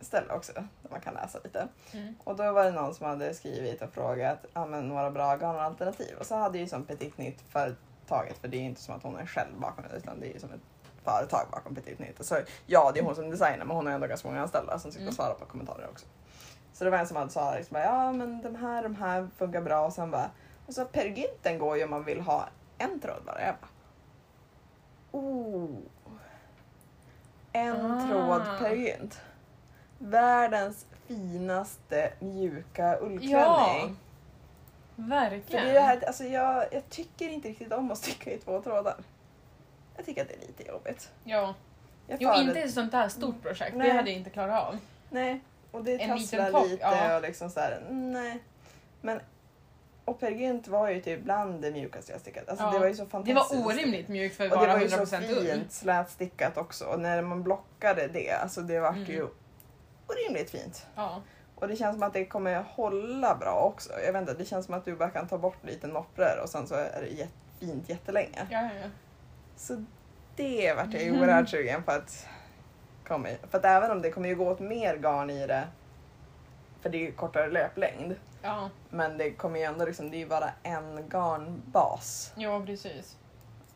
Speaker 1: ställe också där man kan läsa lite.
Speaker 2: Mm.
Speaker 1: Och då var det någon som hade skrivit och frågat ja, men några bra garnalternativ. Och så hade ju som Petit Nytt företaget, för det är ju inte som att hon är själv bakom det utan det är ju som ett företag bakom Petit Nytt. Och så, ja, det är hon som designar men hon har ändå ganska många anställda som sitter och
Speaker 2: Mm.
Speaker 1: svarar på kommentarer också. Så det var en som hade svarat liksom, bara, ja men de här, de här funkar bra och sen bara och så Per Gynten går ju om man vill ha en tråd bara. Jag bara oh. En
Speaker 2: Ah.
Speaker 1: tråd Per Gynt. Världens finaste mjuka ullklänning.
Speaker 2: Ja,
Speaker 1: För
Speaker 2: verkligen.
Speaker 1: det är det här, alltså jag, jag tycker inte riktigt om att sticka i två trådar. Jag tycker att det är lite jobbigt.
Speaker 2: Ja.
Speaker 1: Jag
Speaker 2: Jo,
Speaker 1: föredrar-
Speaker 2: inte ett sånt här stort projekt.
Speaker 1: Nej.
Speaker 2: Det hade jag inte klarat av.
Speaker 1: Nej, och det
Speaker 2: En liten
Speaker 1: tasslar
Speaker 2: topp,
Speaker 1: lite
Speaker 2: ja.
Speaker 1: och liksom så här, nej. Men och Per Gynt var ju typ bland det mjukaste jag stickat. Alltså
Speaker 2: Ja.
Speaker 1: det var ju så
Speaker 2: Det
Speaker 1: fantastiskt.
Speaker 2: var orimligt mjukt för att
Speaker 1: Och det
Speaker 2: vara
Speaker 1: var ju så
Speaker 2: 100% ull.
Speaker 1: fint slätstickat också och när man blockade det, alltså det vart
Speaker 2: Mm.
Speaker 1: ju orimligt fint.
Speaker 2: Ja.
Speaker 1: Och det känns som att det kommer hålla bra också. Jag vet inte, det känns som att du bara kan ta bort lite noppror och sen så är det jätt, fint jättelänge.
Speaker 2: Ja, Mm. ja, ja.
Speaker 1: Så det vart jag ju oerhört sugen på att komma i. För att även om det kommer ju gå åt mer garn i det, för det är ju kortare löplängd,
Speaker 2: Ja,
Speaker 1: Men det kommer ju ändå liksom, det är ju bara en garnbas.
Speaker 2: ja precis.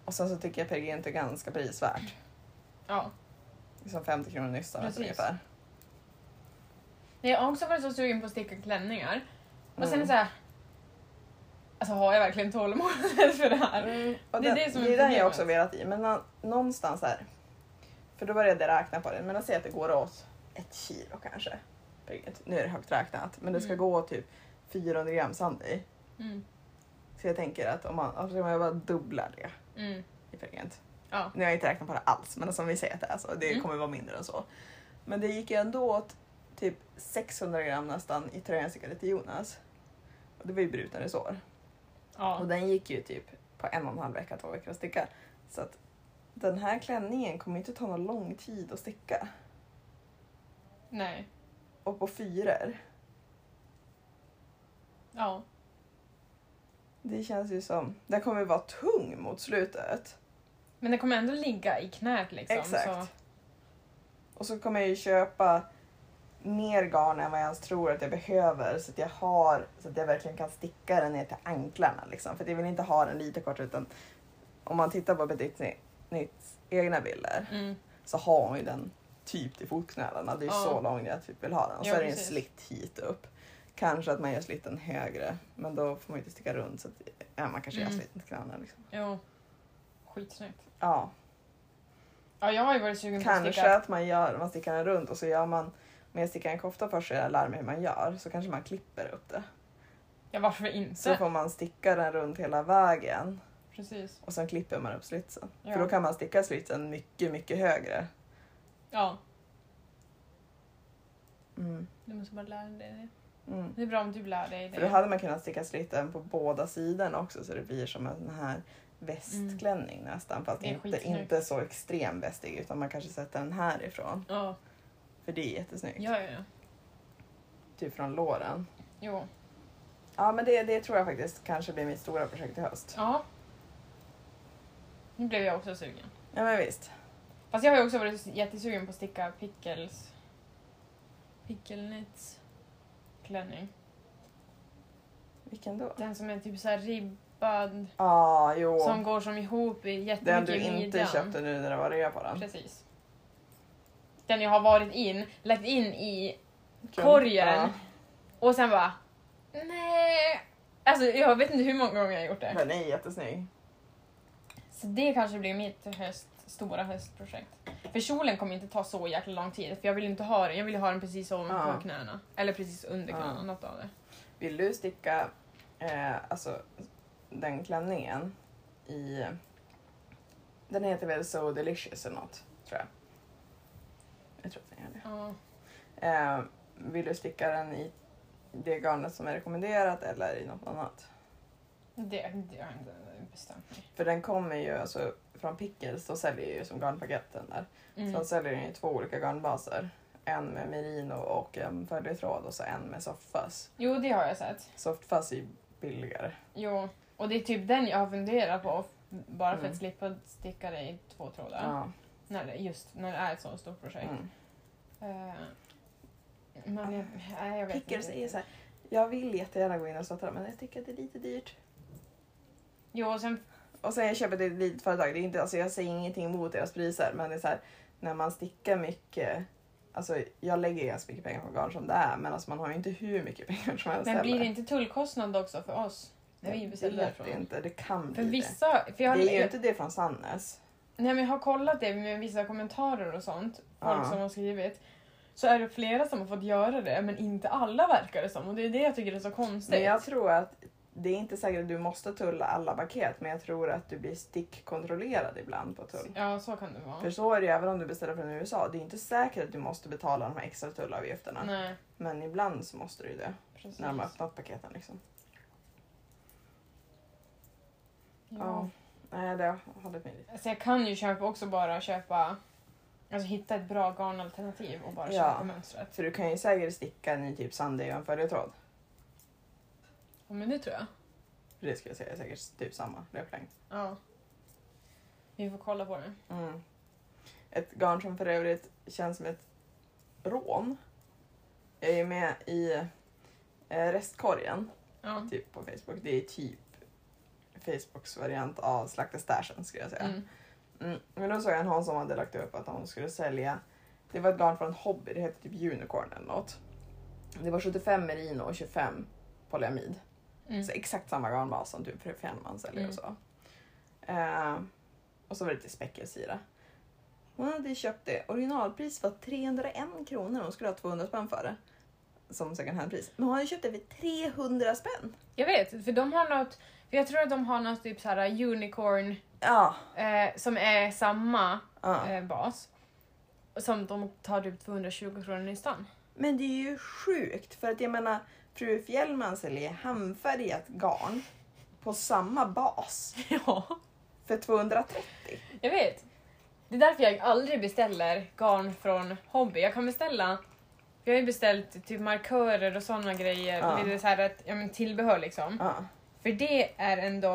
Speaker 1: Och sen så tycker jag pergent är ganska prisvärt.
Speaker 2: Ja.
Speaker 1: Liksom 50 kronor nystan
Speaker 2: Precis.
Speaker 1: ungefär.
Speaker 2: Nej, Jag har också varit så sugen på att sticka klänningar. Och sen är
Speaker 1: Mm.
Speaker 2: det såhär... Alltså har jag verkligen tålamod [LAUGHS] för det här?
Speaker 1: Mm, och
Speaker 2: Det
Speaker 1: det,
Speaker 2: är
Speaker 1: det,
Speaker 2: det
Speaker 1: det,
Speaker 2: som är
Speaker 1: är den
Speaker 2: problemet.
Speaker 1: jag också velat i. Men nå- någonstans här. För då började jag räkna på det. Men jag ser att det går åt ett kilo kanske. Pergent. Nu är det högt räknat. Men det ska
Speaker 2: Mm.
Speaker 1: gå typ 400 gram sand i.
Speaker 2: Mm.
Speaker 1: Så jag tänker att om man, om man bara dubblar det
Speaker 2: Mm.
Speaker 1: i pergent.
Speaker 2: Ja.
Speaker 1: Nu har jag inte räknat på det alls men som vi säger att det är så. Det
Speaker 2: Mm.
Speaker 1: kommer vara mindre än så. Men det gick ju ändå åt typ 600 gram nästan i tröjan jag stickade till Jonas. Och det var ju bruten resår. Och
Speaker 2: Ja.
Speaker 1: den gick ju typ på en och en halv vecka, två veckor att sticka. Så att den här klänningen kommer inte ta någon lång tid att sticka.
Speaker 2: Nej.
Speaker 1: Och på fyror,
Speaker 2: Ja.
Speaker 1: det känns ju som... Den kommer vara tung mot slutet.
Speaker 2: Men det kommer ändå ligga i knät liksom.
Speaker 1: Exakt.
Speaker 2: Så.
Speaker 1: Och så kommer jag ju köpa mer garn än vad jag ens tror att jag behöver så att jag har så att jag verkligen kan sticka den ner till anklarna. Liksom. För att jag vill inte ha den lite kort utan om man tittar på Petit Nits egna bilder
Speaker 2: Mm.
Speaker 1: så har hon ju den typ till fotknölarna. Det är ju
Speaker 2: Ja.
Speaker 1: så lång jag typ vill ha den. Och så
Speaker 2: Ja,
Speaker 1: är det ju en
Speaker 2: precis.
Speaker 1: slitt hit upp. Kanske att man gör slitten högre men då får man ju inte sticka runt så att ja, man kanske
Speaker 2: Mm.
Speaker 1: gör slitten till knölarna. Liksom.
Speaker 2: Jo. Skitsnyggt.
Speaker 1: Ja.
Speaker 2: Ja, jag har ju varit sugen på att
Speaker 1: Kanske
Speaker 2: sticka.
Speaker 1: att man gör, man stickar den runt och så gör man, om jag stickar en kofta först så jag lär mig hur man gör, så kanske man klipper upp det.
Speaker 2: Ja, varför
Speaker 1: Så
Speaker 2: inte?
Speaker 1: får man sticka den runt hela vägen
Speaker 2: Precis.
Speaker 1: och sen klipper man upp slitsen.
Speaker 2: Ja.
Speaker 1: För då kan man sticka slitsen mycket, mycket högre.
Speaker 2: Ja.
Speaker 1: Mm.
Speaker 2: Du måste bara lära dig det.
Speaker 1: Mm.
Speaker 2: Det är bra om du lär dig det.
Speaker 1: För då hade man kunnat sticka slitten på båda sidorna också så det blir som en sån här västklänning nästan. Fast
Speaker 2: Mm. Det är
Speaker 1: inte,
Speaker 2: skitsnyggt.
Speaker 1: inte så extrem västig utan man kanske sätter den härifrån.
Speaker 2: Ja.
Speaker 1: För det är jättesnyggt.
Speaker 2: Ja, ja, ja.
Speaker 1: Typ från låren.
Speaker 2: Jo.
Speaker 1: Ja men det, det tror jag faktiskt kanske blir mitt stora projekt i höst.
Speaker 2: Ja. Nu blev jag också sugen.
Speaker 1: Ja men visst.
Speaker 2: Fast jag har ju också varit jättesugen på att sticka pickles... Pickelnets klänning.
Speaker 1: Vilken då? Ja,
Speaker 2: Den som är typ så här ribbad,
Speaker 1: ah, jo.
Speaker 2: som går som ihop i
Speaker 1: den
Speaker 2: jättemycket
Speaker 1: du
Speaker 2: i
Speaker 1: inte
Speaker 2: midjan.
Speaker 1: köpte nu när det var rea på den.
Speaker 2: Precis. Den jag har varit in, lagt in i
Speaker 1: Kul.
Speaker 2: korgen
Speaker 1: Ja.
Speaker 2: och sen bara... Nej. Alltså jag vet inte hur många gånger jag har gjort det.
Speaker 1: Den är jättesnygg.
Speaker 2: Så det kanske blir mitt höst, stora höstprojekt. För kjolen kommer inte ta så jäkla lång tid för jag vill inte ha den. Jag vill ha den precis ovanför
Speaker 1: Ja.
Speaker 2: knäna. Eller precis under
Speaker 1: Ja.
Speaker 2: knäna, något av det.
Speaker 1: Vill du sticka eh, alltså, den klänningen i... Den heter väl So Delicious eller något, tror jag. Jag tror att den gör det.
Speaker 2: Ja.
Speaker 1: Eh, vill du sticka den i det garnet som är rekommenderat eller i något annat?
Speaker 2: Det, det har jag inte bestämt mig.
Speaker 1: För den kommer ju alltså från Pickles, de säljer ju som garnpaket den där. Så
Speaker 2: Mm.
Speaker 1: de säljer den i två olika garnbaser. En med merino och en följetråd och så en med softfuzz.
Speaker 2: Jo, det har jag sett.
Speaker 1: Softfuzz är ju billigare.
Speaker 2: Jo. Och det är typ den jag har funderat på. Bara för
Speaker 1: Mm.
Speaker 2: att slippa sticka det i två trådar.
Speaker 1: Ja.
Speaker 2: När det, just när det är ett så stort projekt.
Speaker 1: Mm.
Speaker 2: Eh,
Speaker 1: Ah.
Speaker 2: men jag, nej, jag vet
Speaker 1: Pickles
Speaker 2: inte.
Speaker 1: är så här, jag vill jättegärna gå in och stötta dem men jag tycker att det är lite dyrt.
Speaker 2: Jo, och sen...
Speaker 1: Och sen jag köper det till ett litet företag, det är inte, alltså jag säger ingenting emot deras priser men det är så här, när man stickar mycket Alltså jag lägger ganska mycket pengar på garn som det är men alltså man har ju inte hur mycket [LAUGHS] pengar som helst
Speaker 2: Men blir det
Speaker 1: heller.
Speaker 2: inte tullkostnad också för oss? När vi beställer
Speaker 1: Jag vet
Speaker 2: därifrån?
Speaker 1: inte, det kan
Speaker 2: För
Speaker 1: bli det.
Speaker 2: vissa... För jag, har-
Speaker 1: Det är ju inte det från Sannes.
Speaker 2: Nej, men jag har kollat det med vissa kommentarer och sånt. Folk
Speaker 1: Ja.
Speaker 2: som har skrivit. Så är det flera som har fått göra det, men inte alla verkar det som. Och det är det jag tycker är så konstigt.
Speaker 1: Men jag tror att det är inte säkert att du måste tulla alla paket men jag tror att du blir stickkontrollerad ibland på tull.
Speaker 2: Ja, så kan det vara.
Speaker 1: För så är det ju även om du beställer från USA. Det är inte säkert att du måste betala de här extra tullavgifterna.
Speaker 2: Nej,
Speaker 1: Men ibland så måste du ju det.
Speaker 2: precis.
Speaker 1: När de har öppnat paketen liksom.
Speaker 2: ja.
Speaker 1: Nej, det hade varit min
Speaker 2: Så Alltså, jag kan ju köpa också bara köpa... Alltså hitta ett bra garnalternativ och bara
Speaker 1: Ja.
Speaker 2: köpa mönstret.
Speaker 1: För du kan ju säkert sticka en ny typ Sunday och en följetråd.
Speaker 2: Ja, men det tror jag.
Speaker 1: För Det skulle jag säga är säkert typ samma löplängd.
Speaker 2: Ja. Vi får kolla på det.
Speaker 1: Mm. Ett garn som för övrigt känns som ett rån. Jag är ju med i eh, restkorgen
Speaker 2: Ja.
Speaker 1: typ på Facebook. Det är typ Facebooks variant av Slakta stashen skulle jag säga.
Speaker 2: Mm.
Speaker 1: Mm, Men då såg jag någon som hade lagt upp att hon skulle sälja, det var ett garn från Hobby, det hette typ Unicorn eller något. Det var 75 merino och 25 polyamid.
Speaker 2: Mm.
Speaker 1: Så exakt samma garnbas som typ Fjällman säljer
Speaker 2: Mm.
Speaker 1: och så. Eh, och så var det lite späckels i det. Hon hade köpt det. Originalpris var 301 kronor. Hon skulle ha 200 spänn för det. Som second hand-pris. Men hon hade köpt det för 300 spänn.
Speaker 2: Jag vet, för de har något, för jag tror att de har något typ så här unicorn
Speaker 1: Ja.
Speaker 2: eh, som är samma
Speaker 1: ja.
Speaker 2: eh, bas. Som de tar typ 220
Speaker 1: [LAUGHS]
Speaker 2: kronor nystan.
Speaker 1: Men det är ju sjukt. För att jag menar, fru Fjällman säljer handfärgat garn på samma bas
Speaker 2: Ja.
Speaker 1: för 230.
Speaker 2: Jag vet. Det är därför jag aldrig beställer garn från Hobby. Jag kan beställa jag har ju beställt typ markörer och sådana grejer,
Speaker 1: Ja.
Speaker 2: det är så här att, ja, men tillbehör liksom.
Speaker 1: Ja.
Speaker 2: För det är ändå...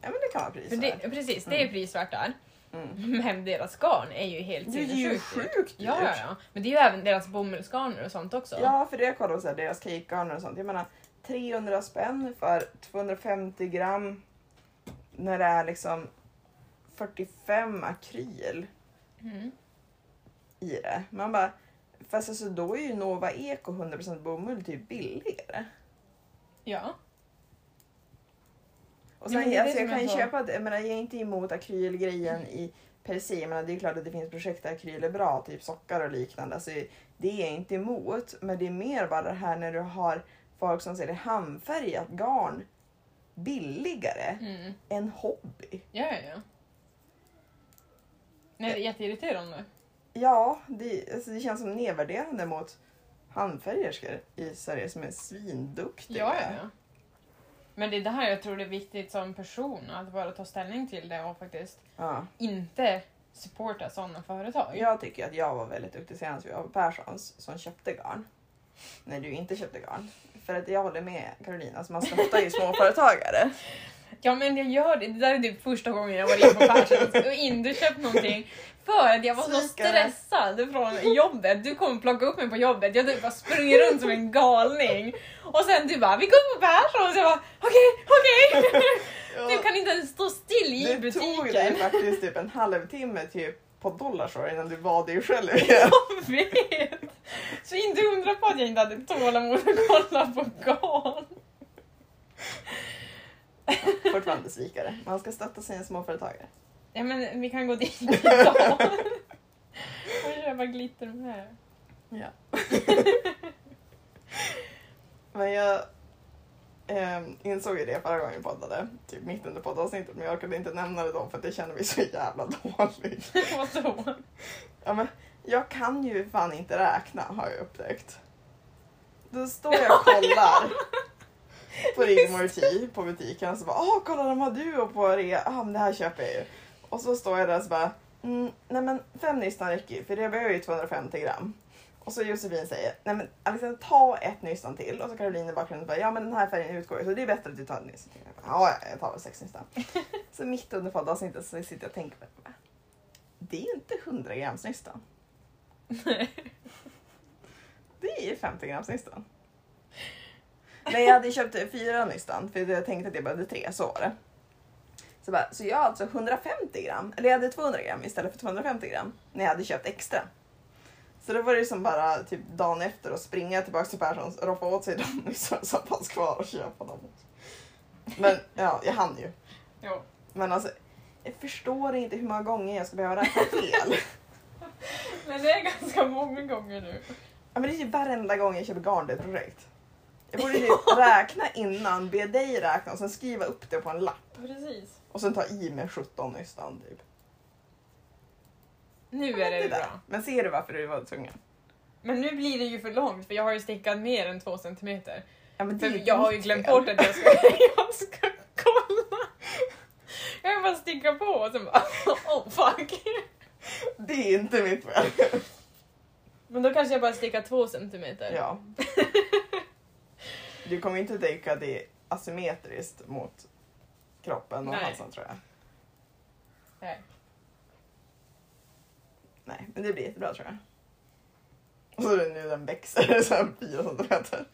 Speaker 1: Ja men det kan vara
Speaker 2: För
Speaker 1: pris
Speaker 2: det,
Speaker 1: det,
Speaker 2: precis, det är prisvärt där.
Speaker 1: mm.
Speaker 2: Men deras garn är ju helt
Speaker 1: det är ju
Speaker 2: sinnessjukt dyrt.
Speaker 1: sjukt alltså.
Speaker 2: Ja, ja, ja. Men det är ju även deras bomullsgarner och sånt också.
Speaker 1: Ja, för det jag kollade så här, deras cakegarner och sånt. Jag menar 300 spänn för 250 gram när det är liksom 45 akryl
Speaker 2: Mm.
Speaker 1: i det. Man bara, fast alltså då är ju Nova Eko 100% bomull typ billigare.
Speaker 2: ja.
Speaker 1: Och sen,
Speaker 2: Ja, men det är det
Speaker 1: alltså, jag
Speaker 2: som
Speaker 1: kan
Speaker 2: jag
Speaker 1: ju
Speaker 2: sa.
Speaker 1: köpa, det. jag menar jag är inte emot akrylgrejen i per se. Jag menar, det är klart att det finns projekt där akryl är bra, typ sockar och liknande. Alltså, det är jag inte emot, men det är mer bara det här när du har folk som säljer handfärgat garn billigare
Speaker 2: Mm.
Speaker 1: än hobby.
Speaker 2: Ja, ja, ja. Nej, det är jätteirriterande.
Speaker 1: Ja, det, alltså, det känns som nedvärderande mot handfärgerskor i Sverige som är svinduktiga.
Speaker 2: Ja, ja, ja. Men det är det här jag tror det är viktigt som person, att bara ta ställning till det och faktiskt
Speaker 1: Ja.
Speaker 2: inte supporta sådana företag.
Speaker 1: Jag tycker att jag var väldigt duktig senast vi var på Perssons som köpte garn. När du inte köpte garn. För att jag håller med Karolina, alltså man stöttar ju [LAUGHS] småföretagare.
Speaker 2: Ja, men jag gör det. Det där är typ första gången jag var inne på Perssons och inte köpt någonting. För att jag var så
Speaker 1: Svikare.
Speaker 2: stressad från jobbet. Du kom och plockade upp mig på jobbet. Jag typ bara sprang runt som en galning. Och sen du bara, vi går på Perssons. Jag bara, okej, okej.
Speaker 1: [LAUGHS]
Speaker 2: Du kan inte ens stå still i
Speaker 1: det tog dig
Speaker 2: butiken.
Speaker 1: faktiskt typ en halvtimme typ på Dollarstore innan du var dig [LAUGHS] själv igen.
Speaker 2: [LAUGHS] Jag vet! Så inte undra på att jag inte hade tålamod att kolla på garn.
Speaker 1: Fortfarande svikare. Man ska stötta sina [LAUGHS] småföretagare.
Speaker 2: Ja men vi kan gå
Speaker 1: [LAUGHS]
Speaker 2: dit idag. Och köpa glitter med.
Speaker 1: Ja. Men jag ehm, insåg ju det förra gången vi poddade, typ mitt under poddavsnittet, men jag orkade inte nämna det då för att det kände mig så jävla [LAUGHS] dålig.
Speaker 2: Vadå?
Speaker 1: Ja, men jag kan ju fan inte räkna har jag upptäckt. Då står
Speaker 2: [LAUGHS]
Speaker 1: jag och kollar på Rigmor T på butiken och så bara åh kolla de har Duo på rea, ah, men det här köper jag ju. Och så står jag där och så bara mm, nej men fem nystan räcker ju för det behöver ju 250 gram. Och så Josefin säger nej men Alexander ta ett nystan till och så Caroline i bakgrunden bara ja men den här färgen utgår ju så det är bättre att du tar ett nystan till. Jag bara, Ja ja, jag tar väl sex nystan. Så mitt under poddavsnittet så sitter jag och tänker på det. Det är inte 100 grams nystan. Det är 50 grams nystan. Nej, jag hade köpt fyra nystan för jag tänkte att jag behövde tre, så var det. Så, bara, så jag har alltså 150 gram, eller jag hade 200 gram istället för 250 gram när jag hade köpt extra. Så då var det som bara typ dagen efter att springa tillbaka till Perssons och roffa åt sig [LAUGHS] liksom, de nystan som fanns kvar och köpa dem. Men ja, jag hann ju.
Speaker 2: Jo.
Speaker 1: Men alltså, jag förstår inte hur många gånger jag ska behöva räkna fel.
Speaker 2: Men det är ganska många gånger nu.
Speaker 1: Ja, men det är typ varenda gång jag köper garn det är ett projekt. Jag borde
Speaker 2: [LAUGHS]
Speaker 1: typ räkna innan, be dig räkna och sen skriva upp det på en lapp.
Speaker 2: Precis.
Speaker 1: Och sen ta i med 17 nystan typ.
Speaker 2: Nu är det,
Speaker 1: Det där.
Speaker 2: bra.
Speaker 1: Men ser du varför du var tvungen?
Speaker 2: Men nu blir det ju för långt för jag har ju stickat mer än två centimeter.
Speaker 1: Ja, men det är
Speaker 2: För jag har ju
Speaker 1: ditt
Speaker 2: glömt
Speaker 1: fel.
Speaker 2: bort att jag ska, [LAUGHS] jag ska kolla. Jag bara sticka på och sen bara [LAUGHS] oh fuck.
Speaker 1: [LAUGHS] Det är inte mitt fel.
Speaker 2: [LAUGHS] Men då kanske jag bara stickar två centimeter. [LAUGHS]
Speaker 1: Ja. Du kommer inte tänka att det är asymmetriskt mot kroppen och
Speaker 2: Nej.
Speaker 1: halsen tror jag.
Speaker 2: Nej.
Speaker 1: Nej, men det blir [LAUGHS] jättebra tror jag. Och så är det nu den växer så här 4 centimeter.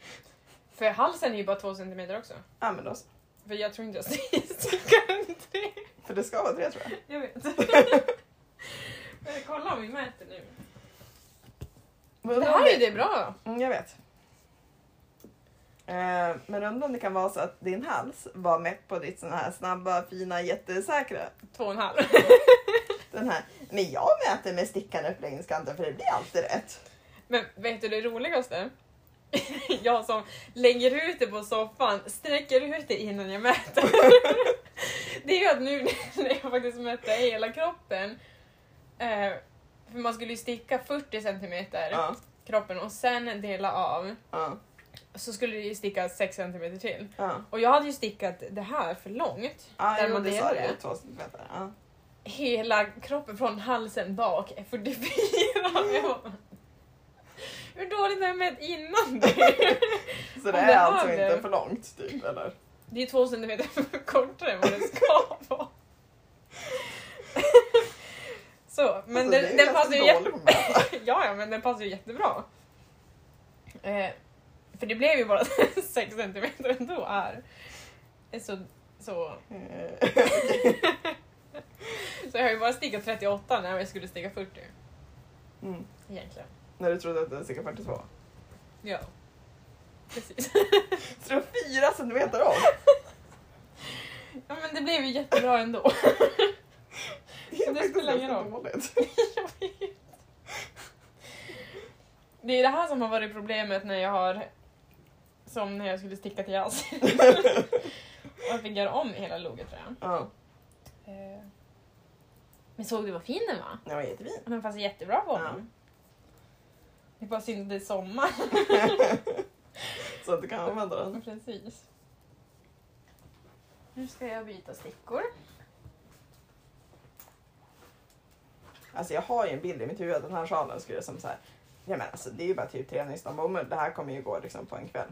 Speaker 2: För halsen är ju bara två centimeter också.
Speaker 1: Ja men då så.
Speaker 2: För jag tror inte jag [LAUGHS] stickar en tre.
Speaker 1: För det ska vara tre tror jag.
Speaker 2: Jag vet.
Speaker 1: [LAUGHS]
Speaker 2: Men kolla om vi mäter nu.
Speaker 1: Men
Speaker 2: Det
Speaker 1: undrar om
Speaker 2: här är ju det bra.
Speaker 1: Mm, jag vet. Eh, men undrar om det kan vara så att din hals var mätt på ditt sån här snabba, fina, jättesäkra.
Speaker 2: Två och en halv. [LAUGHS]
Speaker 1: Den här. Men jag mäter med stickan upp längs kanten för det blir alltid rätt.
Speaker 2: Men vet du det roligaste? [LAUGHS] Jag som lägger ut det på soffan, sträcker ut det innan jag mäter. [LAUGHS] Det är ju att nu [LAUGHS] när jag faktiskt mätte hela kroppen, eh, för man skulle ju sticka 40 centimeter
Speaker 1: Ja,
Speaker 2: kroppen och sen dela av,
Speaker 1: ja,
Speaker 2: så skulle det ju sticka 6 centimeter till.
Speaker 1: ja.
Speaker 2: Och jag hade ju stickat det här för långt.
Speaker 1: Ja,
Speaker 2: Där
Speaker 1: jo,
Speaker 2: man
Speaker 1: det sa
Speaker 2: delar
Speaker 1: du ju.
Speaker 2: det.
Speaker 1: Två centimeter. Ja.
Speaker 2: Hela kroppen från halsen bak är 44. Jag bara, Hur dåligt har jag mätt innan det?
Speaker 1: Så det
Speaker 2: Om
Speaker 1: är
Speaker 2: det här
Speaker 1: alltså
Speaker 2: blev-
Speaker 1: inte för långt, typ, eller?
Speaker 2: Det är två centimeter kortare än vad det ska vara. Så, men
Speaker 1: alltså,
Speaker 2: den, den passar ju jätte...
Speaker 1: jättedåligt på mig.
Speaker 2: ja, ja, men den passar ju jättebra. Eh, för det blev ju bara [LAUGHS] 6 centimeter ändå här. Eh, Så, så, så jag har ju bara stickat 38 när jag skulle sticka 40
Speaker 1: [LAUGHS] Mm.
Speaker 2: egentligen.
Speaker 1: När du trodde att det var cirka 42.
Speaker 2: Ja. Precis.
Speaker 1: Så det var fyra centimeter av.
Speaker 2: Ja men det blev ju jättebra ändå.
Speaker 1: Det
Speaker 2: Så
Speaker 1: är
Speaker 2: det
Speaker 1: faktiskt
Speaker 2: spelar ingen
Speaker 1: ganska
Speaker 2: roll.
Speaker 1: dåligt.
Speaker 2: Jag vet. Det är det här som har varit problemet när jag har... Som när jag skulle sticka till [LAUGHS] jazz. och jag fick göra om hela logotröjan.
Speaker 1: Ja,
Speaker 2: Eh, Men såg du vad fin den var?
Speaker 1: den var jättefin.
Speaker 2: Den passade jättebra på
Speaker 1: Ja. [LAUGHS]
Speaker 2: honom. Det är bara synd att det är sommar.
Speaker 1: Så att du kan använda den.
Speaker 2: [LAUGHS] Precis. Nu ska jag byta stickor.
Speaker 1: Alltså jag har ju en bild i mitt huvud att den här sjalen skulle som så här. Ja men alltså det är ju bara typ tre nystan bomull. Det här kommer ju gå liksom på en kväll.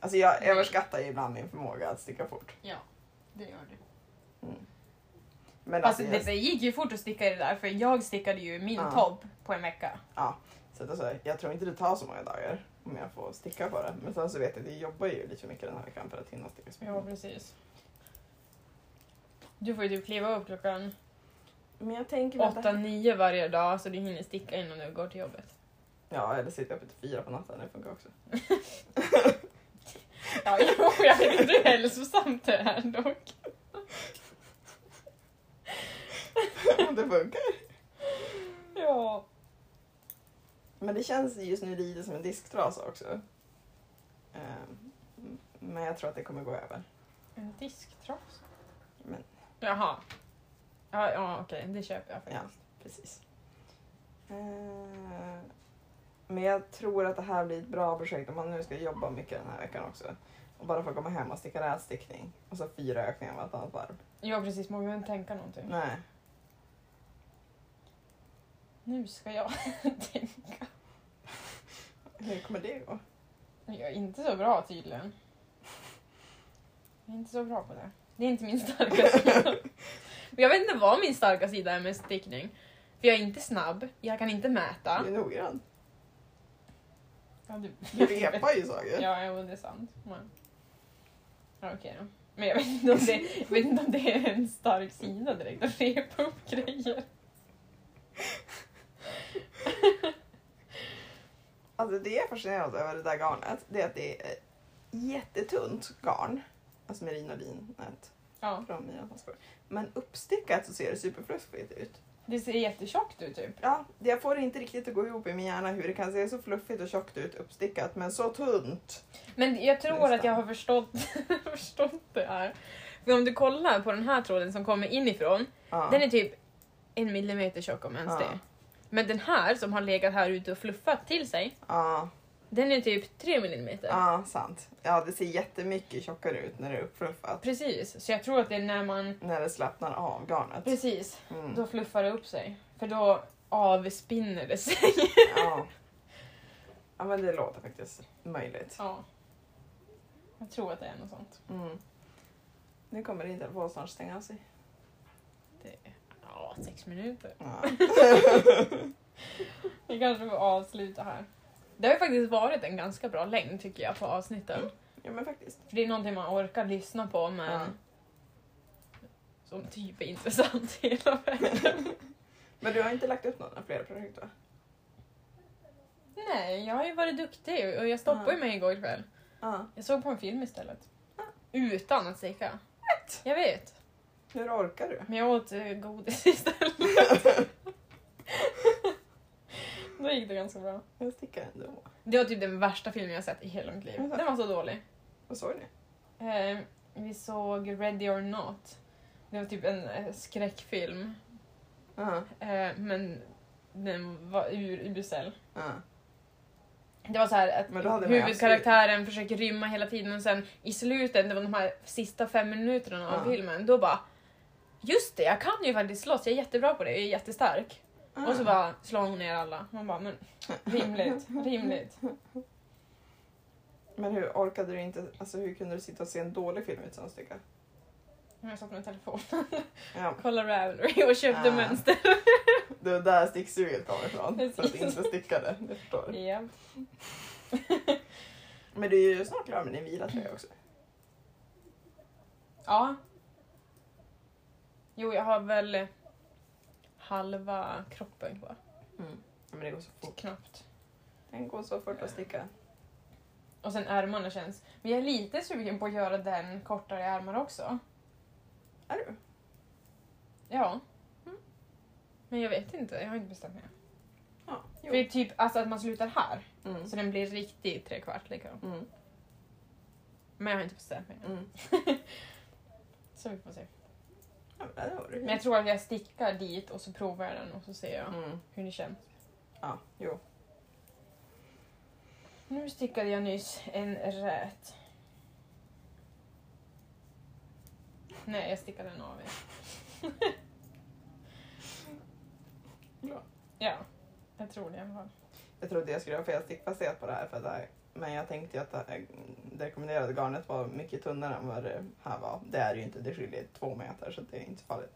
Speaker 1: Alltså jag
Speaker 2: Nej.
Speaker 1: överskattar ju ibland min förmåga att sticka fort.
Speaker 2: Ja, det gör du.
Speaker 1: Men
Speaker 2: Fast
Speaker 1: alltså,
Speaker 2: det,
Speaker 1: jag,
Speaker 2: det gick ju fort att sticka i det där för jag stickade ju min
Speaker 1: Ja.
Speaker 2: topp på en vecka.
Speaker 1: så att alltså, jag tror inte det tar så många dagar om jag får sticka på det. Men sen så vet jag att jag jobbar ju lite för mycket den här veckan för att hinna sticka så
Speaker 2: Ja,
Speaker 1: mycket.
Speaker 2: precis. Du får ju typ kliva upp klockan
Speaker 1: Men jag tänker väl att det-
Speaker 2: 8-9 varje dag så du hinner sticka innan du går till jobbet.
Speaker 1: Ja eller sitta uppe till fyra på natten, det funkar också.
Speaker 2: [LAUGHS]
Speaker 1: [LAUGHS]
Speaker 2: Ja, jo, jag vet inte hur hälsosamt det är dock.
Speaker 1: det funkar.
Speaker 2: Ja.
Speaker 1: Men det känns just nu lite som en disktrasa också. Ehm, m- men jag tror att det kommer gå över.
Speaker 2: En disktrasa?
Speaker 1: Men-
Speaker 2: Jaha. Ja, ja okej, det köper jag
Speaker 1: Ja,
Speaker 2: faktiskt.
Speaker 1: precis. Eh, Men jag tror att det här blir ett bra projekt om man nu ska jobba mycket den här veckan också. Och bara få komma hem och sticka rätstickning. Och så fyra ökningar vartannat varv.
Speaker 2: Ja, precis. Man behöver inte tänka någonting.
Speaker 1: Nej.
Speaker 2: Nu ska jag [LAUGHS] tänka.
Speaker 1: Hur kommer det gå?
Speaker 2: Jag är inte så bra tydligen. Jag är inte så bra på det. Det är inte min [LAUGHS] starka sida. Men jag vet inte vad min starka sida är med stickning. För jag är inte snabb, jag kan inte mäta.
Speaker 1: Du är noggrann.
Speaker 2: Ja, du,
Speaker 1: Du repar ju saker.
Speaker 2: Ja, jo, det är sant. Men... Ja, okej då. Men jag vet, inte om det, jag vet inte om det är en stark sida direkt att repa upp grejer.
Speaker 1: Alltså det jag är fascinerad över det där garnet, det är att det är jättetunt garn. Alltså merinolinät
Speaker 2: Ja,
Speaker 1: från mina skor. Men uppstickat så ser det superfluffigt ut.
Speaker 2: det ser jättetjockt ut typ.
Speaker 1: Ja, det- jag får det inte riktigt att gå ihop i min hjärna hur det kan se så fluffigt och tjockt ut uppstickat men så tunt.
Speaker 2: Men jag tror
Speaker 1: Nästan.
Speaker 2: att jag har förstått, [LAUGHS] förstått det här. För om du kollar på den här tråden som kommer inifrån,
Speaker 1: Ja.
Speaker 2: den är typ en millimeter tjock om ens
Speaker 1: Ja.
Speaker 2: det. Men den här som har legat här ute och fluffat till sig,
Speaker 1: ja,
Speaker 2: den är typ tre millimeter.
Speaker 1: ja, sant. Ja, det ser jättemycket tjockare ut när det är uppfluffat.
Speaker 2: Precis, så jag tror att det är när man...
Speaker 1: När det slappnar av garnet.
Speaker 2: Precis,
Speaker 1: Mm.
Speaker 2: då fluffar det upp sig. För då avspinner det sig.
Speaker 1: Ja. ja, men det låter faktiskt möjligt.
Speaker 2: [LAUGHS] Ja. Jag tror att det är något sånt.
Speaker 1: Mm. Nu kommer din telefon snart stänga av sig.
Speaker 2: Ja, sex minuter.
Speaker 1: Ja.
Speaker 2: Vi kanske får avsluta här. Det har ju faktiskt varit en ganska bra längd tycker jag på avsnitten.
Speaker 1: [LAUGHS] Ja men faktiskt. [LAUGHS]
Speaker 2: För det är någonting man orkar lyssna på men
Speaker 1: Mm. Ja.
Speaker 2: som typ är intressant [LAUGHS] hela vägen.
Speaker 1: Men du har inte lagt upp några fler projekt va?
Speaker 2: Nej, jag har ju varit duktig och jag stoppade ju
Speaker 1: Ja.
Speaker 2: mig igår kväll.
Speaker 1: Ja.
Speaker 2: Jag såg på en film istället.
Speaker 1: Ja.
Speaker 2: Utan att sticka. Jag vet.
Speaker 1: Hur orkar du?
Speaker 2: Men jag åt eh, godis [LAUGHS] istället. Då gick det ganska bra.
Speaker 1: Jag stickar ändå.
Speaker 2: Det var typ den värsta filmen jag sett i hela mitt liv.
Speaker 1: Jaså?
Speaker 2: Den var så dålig.
Speaker 1: Vad såg ni?
Speaker 2: Eh, vi såg Ready or Not. Det var typ en eh, skräckfilm.
Speaker 1: Ja.
Speaker 2: Eh, men den var urusel.
Speaker 1: Ja.
Speaker 2: Det var så här
Speaker 1: Men då hade
Speaker 2: att
Speaker 1: man ju
Speaker 2: huvudkaraktären försöker rymma hela tiden och sen i slutet, det var de här sista fem minuterna av
Speaker 1: Ja.
Speaker 2: filmen, då bara Just det, jag kan ju faktiskt slåss, jag är jättebra på det, jag är jättestark.
Speaker 1: Ja.
Speaker 2: Och så bara slår hon ner alla. Man bara, men [LAUGHS] rimligt, rimligt.
Speaker 1: [LAUGHS] Men hur orkade du inte, alltså hur kunde du sitta och se en dålig film utan att sticka?
Speaker 2: Men Jag satt med [LAUGHS] telefonen,
Speaker 1: Ja,
Speaker 2: kollade Ravelry och köpte
Speaker 1: Ja.
Speaker 2: mönster.
Speaker 1: det var där sticksuget kom ifrån. För att du
Speaker 2: Precis.
Speaker 1: inte stickade, jag förstår.
Speaker 2: Ja.
Speaker 1: Men du är ju snart klar med din vila tror jag också.
Speaker 2: Ja. Jo, jag har väl halva kroppen kvar.
Speaker 1: Men det går så fort.
Speaker 2: Knappt.
Speaker 1: Den går så fort att sticka.
Speaker 2: Och sen ärmarna känns. Men jag är lite sugen på att göra den kortare i ärmar också.
Speaker 1: Är du?
Speaker 2: Ja. Mm. Men jag vet inte, jag har inte bestämt mig.
Speaker 1: Ja.
Speaker 2: För det är typ alltså att man slutar här,
Speaker 1: Mm.
Speaker 2: så den blir riktigt trekvart liksom.
Speaker 1: Mm.
Speaker 2: Men jag har inte bestämt mig.
Speaker 1: Mm.
Speaker 2: Så vi får se.
Speaker 1: Ja, men det var det.
Speaker 2: Men jag tror att jag stickar dit och så provar jag den och så ser jag
Speaker 1: Mm.
Speaker 2: hur det känns.
Speaker 1: Ja, jo.
Speaker 2: Nu stickade jag nyss en rät. Nej, jag stickade en av.
Speaker 1: Bra.
Speaker 2: Ja, jag tror det i alla fall.
Speaker 1: Jag trodde jag skulle ha fel stickfasthet på det här, för att det här men jag tänkte ju att det, här- det rekommenderade garnet var mycket tunnare än vad det här var. Det är det ju inte, det skiljer två meter så det är inte så farligt.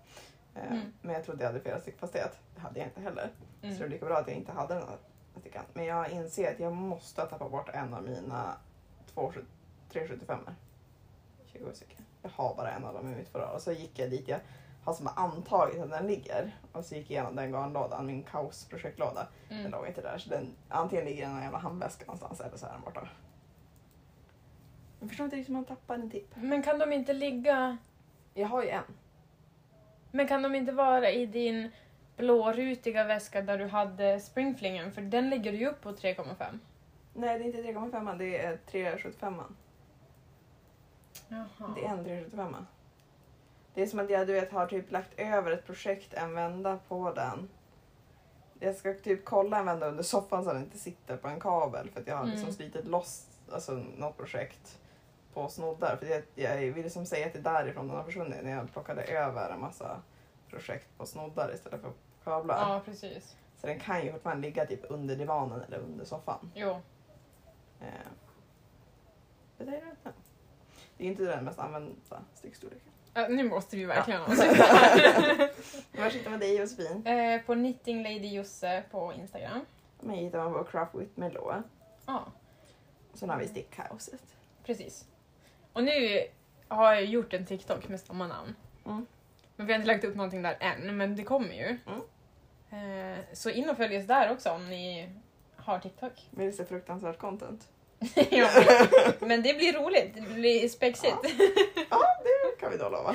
Speaker 1: Eh,
Speaker 2: Mm.
Speaker 1: Men jag trodde jag hade fel stickfasthet, det hade jag inte heller. Så det är
Speaker 2: Mm.
Speaker 1: lika bra att jag inte hade den här stickan. Men jag inser att jag måste tappa bort en av mina 375 20 stycken. Jag har bara en av dem i mitt förråd. Och så gick jag dit jag har som antagit att den ligger. Och så gick jag igenom den garnlådan, min kaosprojektlåda. Den
Speaker 2: Mm.
Speaker 1: låg inte där. Så den, antingen ligger den i en jävla handväska någonstans eller så är den borta. Jag förstår inte riktigt hur man tappar en tipp.
Speaker 2: Men kan de inte ligga...
Speaker 1: Jag har ju en.
Speaker 2: Men kan de inte vara i din blårutiga väska där du hade springflingen? För den lägger du ju upp på 3,5.
Speaker 1: Nej, det är inte 3,5 det är 375
Speaker 2: Jaha.
Speaker 1: Det är en 375 Det är som att jag du vet, har typ lagt över ett projekt en vända på den. Jag ska typ kolla en vända under soffan så den inte sitter på en kabel för att jag har liksom
Speaker 2: Mm.
Speaker 1: slitit loss alltså, något projekt på snoddar. För jag, jag vill liksom säga att det är därifrån den har försvunnit när jag plockade över en massa projekt på snoddar istället för på kablar.
Speaker 2: Ja, precis.
Speaker 1: Så den kan ju fortfarande ligga typ under divanen eller under soffan.
Speaker 2: Jo.
Speaker 1: Eh, men det är rätt bra. Det är inte den mest använda stickstorleken.
Speaker 2: Äh, nu måste vi verkligen
Speaker 1: Ja.
Speaker 2: avsluta här.
Speaker 1: Var sitter [LAUGHS] man dig Josefin?
Speaker 2: eh, på Knitting Lady Josse på Instagram.
Speaker 1: Mig hittar man på Craft with Melloa.
Speaker 2: Ja.
Speaker 1: Och sen har vi stickkaoset.
Speaker 2: Precis. Och nu har jag gjort en TikTok med samma namn.
Speaker 1: Mm.
Speaker 2: Men vi har inte lagt upp någonting där än, men det kommer ju.
Speaker 1: Mm.
Speaker 2: Eh, så in och följ oss där också om ni
Speaker 1: [LAUGHS]
Speaker 2: har TikTok.
Speaker 1: Men det är så fruktansvärt content.
Speaker 2: Ja, men- men det blir roligt, det blir spexigt.
Speaker 1: Ja, det kan vi då lova.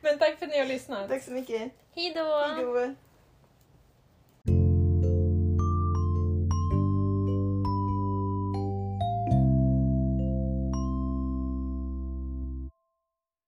Speaker 2: Men tack för att ni har lyssnat.
Speaker 1: Tack så mycket.
Speaker 2: Hejdå!
Speaker 1: Hejdå.